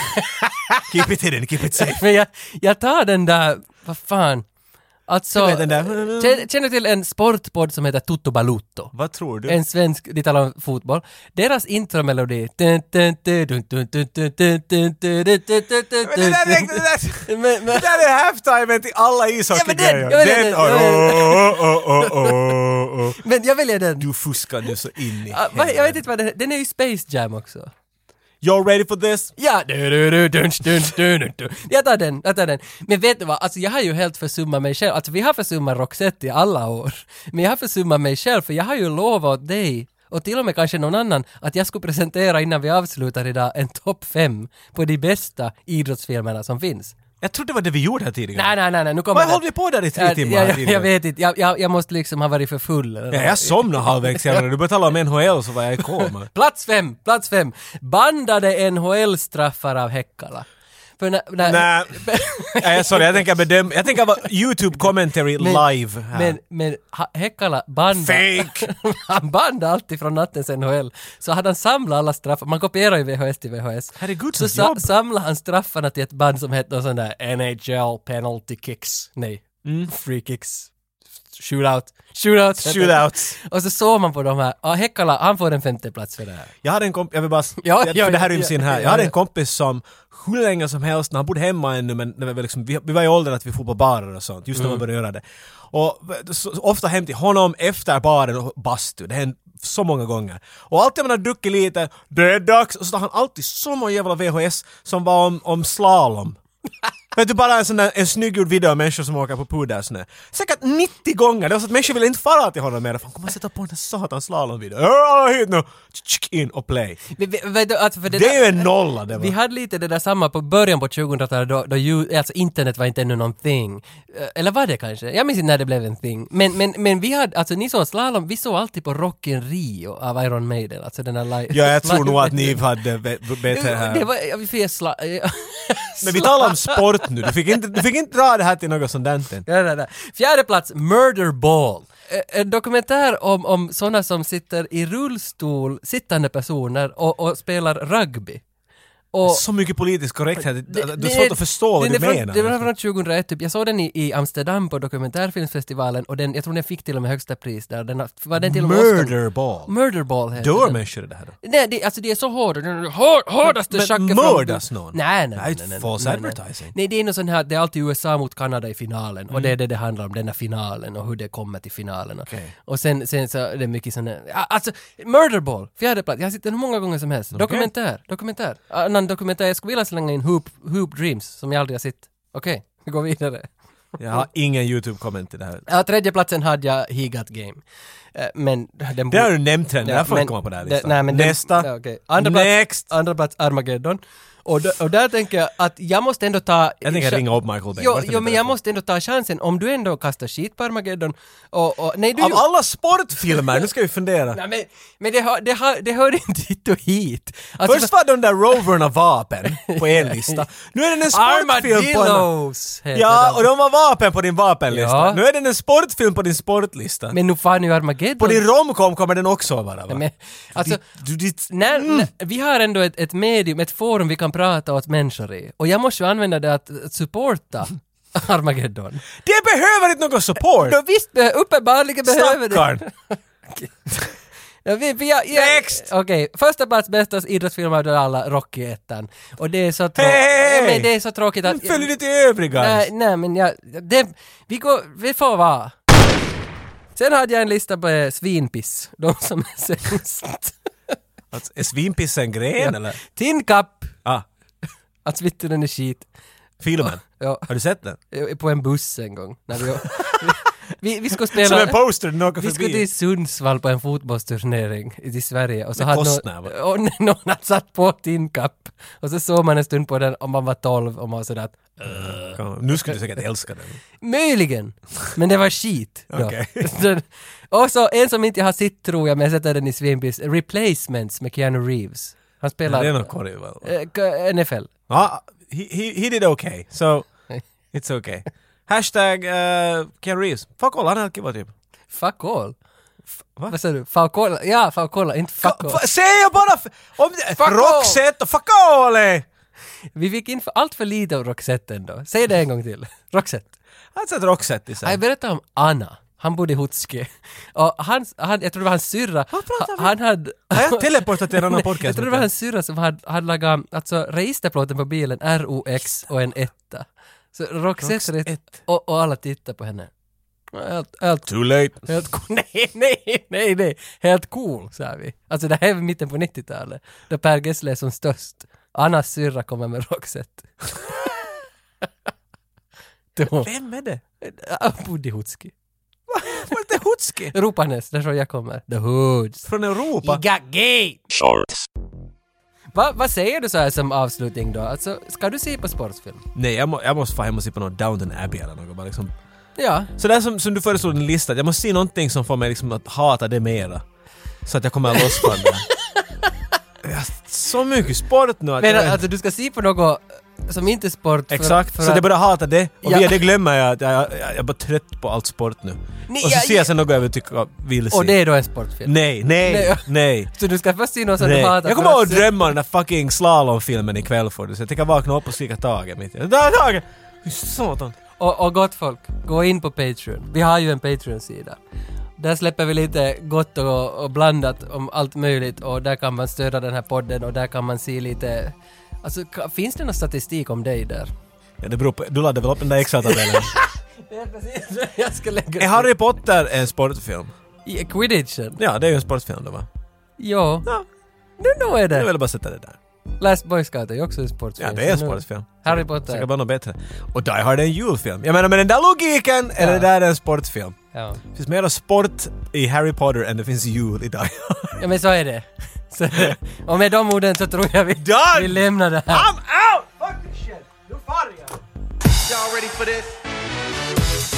keep it hidden, keep it safe! men jag, jag tar den där, vad fan. Alltså, vet den där- känner- känner du till en sportpodd som heter Tutto Balutto? Vad tror du? en svensk, de talar om fotboll. Deras intromelodi... Men, Men det där räknas- det där- Det där är halftime till alla ishockeygrejer. Ja, men den- Den ja, men den- och- och- och- och- och- och- men jag väljer den. Du fuskar nu så in i Ah, vad- Jag vet helvete. inte vad den Den är ju Space Jam också. You're ready for this? Ja! Jag tar den, jag tar den. Men vet du vad, alltså jag har ju helt försummat mig själv. Alltså vi har försummat Roxette i alla år. Men jag har försummat mig själv för jag har ju lovat dig och till och med kanske någon annan att jag skulle presentera innan vi avslutar idag en topp fem på de bästa idrottsfilmerna som finns. Jag trodde det var det vi gjorde här tidigare. Nej, nej, nej, nej nu kommer Vad det. håller vi på där i tre Ja, timmar? ja, här ja, jag tidigare? vet inte, jag, jag, jag måste liksom ha varit för full. Eller Ja, något. jag somnade halvvägs här när du började tala om NHL så var jag i koma. Plats fem, plats fem. Bandade NHL-straffar av Häckala. För när, när, Nej, Nej, sorry, jag tänker bedöma, jag tänker vara YouTube commentary Men- live här. Men, men ha- Häckala bandade... Fake! han bandade alltid från nattens NHL. Så hade han samlat alla straffar, man kopierar ju VHS till VHS. Herregud, så så jobb. samlade han straffarna till ett band som hette någon sån där NHL penalty kicks. Nej, Mm. free kicks. Shootout. Shootout. Shootouts. Och så såg man på de här, ja Häckala, han får en femteplats för det här. Jag hade en kompis, jag vill bara, Ja, jag, ja, det här ja, ryms in ja, här. ja, Jag hade ja. en kompis som hur länge som helst, när han bodde hemma ännu, men det var liksom, vi, vi var i åldern att vi for på barer och sånt, just Mm. när man började göra det. Och så, så ofta hem till honom efter baren och bastu, det hände så många gånger. Och alltid när man har druckit lite, det är dags, och så tar han alltid så många jävla VHS som var om, om slalom. Vet du, bara en sån där, en snygggjord video av människor som åker på pudersnö. Säkert 90 gånger! Det var så att människor ville inte fara till honom mer. Fan, kom och sätta på den där satans slalomvideon. Alla hit nu! Tsk, In och play. Vi- vi- vet du, alltså, för det Det där- är ju en nolla det Vi var. hade lite det där samma på början på 2000-talet då, då ju, alltså internet var inte ännu någonting. Eh, Eller var det kanske? Jag minns inte när det blev en thing. Men, men, men vi hade, alltså ni såg slalom, vi såg alltid på Rock in Rio av Iron Maiden, alltså den här live... Ja, jag tror nog att live- ni hade be- be- bättre Det här. var, ja, vi fick sla... Men vi talar om sport nu. Du fick inte, du fick inte dra det här till något sånt där. Ja, ja, ja. Fjärde plats, Murder Ball. Eh, En dokumentär om, om sådana som sitter i rullstol, sittande personer, och, och spelar rugby. Och, Så mycket politisk korrekthet. Alltså, Det det är det- svårt att förstå vad den du är från- Den var menar. alltså. från 2001 typ. Jag såg den i, i Amsterdam på dokumentärfilmsfestivalen och den, jag tror den fick till och med högsta pris där. Den, har- var den till och med Oscar- Murderball. Murderball heter Dör den. människor i det här då? Nej, det, alltså det är så hårt. Den är hår- Hårdaste Men schacket mördas någon? Nej, nej, Det här nej. är ett nej, nej, false nej, nej. advertising. Nej, det är nog sån här, det är alltid USA mot Kanada i finalen och det är det det handlar om, den här finalen och hur det kommer till finalen. Och, Mm. Okej. och sen, sen så är det mycket sån här, ja, alltså Murderball, fjärde plats. Jag har sett den hur många gånger som helst. Dokumentär, dokumentär. Annan dokumentär, jag skulle vilja slänga in Hoop, Hoop Dreams som jag aldrig har sett. Okej, vi går vidare. Jag har ingen YouTube-komment till det här. Ja, tredje platsen hade jag He Got Game. Eh, Men den Det borde- har du nämnt redan, det Ja, här får men inte komma på den här det- listan. nej, men det- Nästa! ja, okej. Andra plats. Next! andra plats Armageddon. Och, d- och där tänker jag att jag måste ändå ta... Jag tänker ringa upp Michael Bay. Jo, Vart är jo min men jag telefon? måste ändå ta chansen. Om du ändå kastar skit på Armageddon och... och nej, du... Av alla sportfilmer, nu ska vi fundera. Nej, men men det, hör, det, hör, det hör inte hit och hit. Alltså, Först var de där roverna vapen på en lista. Nu är det en sportfilm på en... Armadillos heter Ja, de. och de var vapen på din vapenlista. Ja. Nu är det en sportfilm på din sportlista. Men nu fan är ju Armageddon... på din romcom kommer den också att vara va? Men, alltså, du, ditt... Mm. när, när, vi har ändå ett, ett medium, ett forum vi kan prata åt människor i. Och jag måste ju använda det att, att supporta Armageddon. Det behöver inte någon support! Då visst, be- uppenbarligen behöver Stackarn! Ja, vi, vi har, ja, Next! Okej, första plats bästa idrottsfilm av alla, Rocky 1. Och det är så tråkigt. Hey! Ja, men det är så tråkigt att... Men Följ lite övriga. nej, nej, men jag... Det, vi går... Vi får vara. Sen hade jag en lista på eh, svinpiss. De som är sämst. Alltså, Är svinpiss en gren eller? Tin Cup. Ah, Att svitten är skit. filmen. Ja, eh, Har du sett den? på en buss en gång. När vi, vi, vi skulle spela... Som en poster den åker Vi skulle förbi. till Sundsvall på en fotbollsturnering i till Sverige och så Med hade kostnär, någon, va? och n- någon hade satt på Tin Cup och så såg man en stund på den och man var 12 och man var sådär att Ja, Nu skulle du säkert älska den. möjligen, men det var skit. då. Okej. Den- och så en som inte jag har sett tror jag, men jag sätter den i svinbis, Replacements med Keanu Reeves. Han spelar Det är nog korrigt väl? eh, k- NFL. Ja, he, he, he did okay. So, it's okay. Hashtag uh, Ken Reeves. Fuck all, han är kiva typ. Fuck all. va? Vad sa du? Falcola? Ja, Falcola, inte fuck all. Fa- Säger jag bara... f- Om, all! Roxette och fuck all! eh! Vi fick in för- allt för lite av Roxette ändå. Säg det en gång till. Roxette. Han satt Roxette i Jag sig. berättade om Anna. Han bodde i Hutske. Och han, han, jag tror det var hans syrra. pratar vi? Han hade... Har jag teleportat till en annan podcast? jag tror det var hans syrra som hade, hade lagat, alltså registerplåten på bilen, ROX och en etta. Så Roxette Roxette. rätt. Och, och alla tittade på henne. Helt, helt, Too late. helt cool. Nej, nej, nej, nej. Helt cool, sa vi. Alltså det här är mitten på 90-talet. Då Per Gessle är som störst. Annas syrra kommer med Roxette. Då- Vem är det? Han bodde i Hutske. Var det Hutski! Ropanäs, därifrån jag kommer. The Hoods. Från Europa. got gay! shorts, Va, vad säger du så här som avslutning då? Alltså, ska du se på sportfilm? Nej, jag, må, jag måste fan hem och se på något Downton Abbey eller något bara liksom. Ja. Så där som, som du föreslog din lista, jag måste se någonting som får mig liksom att hata det mera. Så att jag kommer loss från det. Jag har Så mycket sport nu att Men jag, att alltså, du ska se på något eh, som inte är sport för, Exakt, för så att... att jag börjar hata det. Och Ja. via det glömmer jag att jag, jag, jag är bara trött på allt sport nu. Nej, och så jag- ser jag sen något jag tycker vill se. Och det är då en sportfilm? Nej, nej, Nej. nej. Så du ska först se något som Nej. du hatar Jag för kommer ihåg att att se- drömma om den där fucking slalomfilmen ikväll för det, så jag tänker vakna upp och skrika taget mitt i. Där taget! Fy Satan! Och, och gott folk, gå in på Patreon. Vi har ju en Patreon-sida. Där släpper vi lite gott och, och blandat om allt möjligt och där kan man stödja den här podden och där kan man se lite... Alltså, ka- finns det någon statistik om dig där? Ja, det beror på, du laddade väl upp den där Excel-tabellen? Jag ska lägga... är Harry Potter en sportfilm? I Quidditchen? Ja, det är ju en sportfilm då va? Jo. Ja. Nu no, är Jag det! ville bara sätta det där. Last Boy Scout är ju också en sportfilm. Ja, det är en så nu- sportfilm. Harry Säkert Potter. bara något bättre. Och Die Hard är en julfilm. Jag menar med den där logiken är det Ja. där en sportfilm. Ja. Det finns mera sport i Harry Potter än det finns jul i Die Hard. ja, men så är det. Så, och med de orden så tror jag vi, Done! vi lämnar det här. I'm out! Fuck this shit! Nu far jag! Y'all ready for this?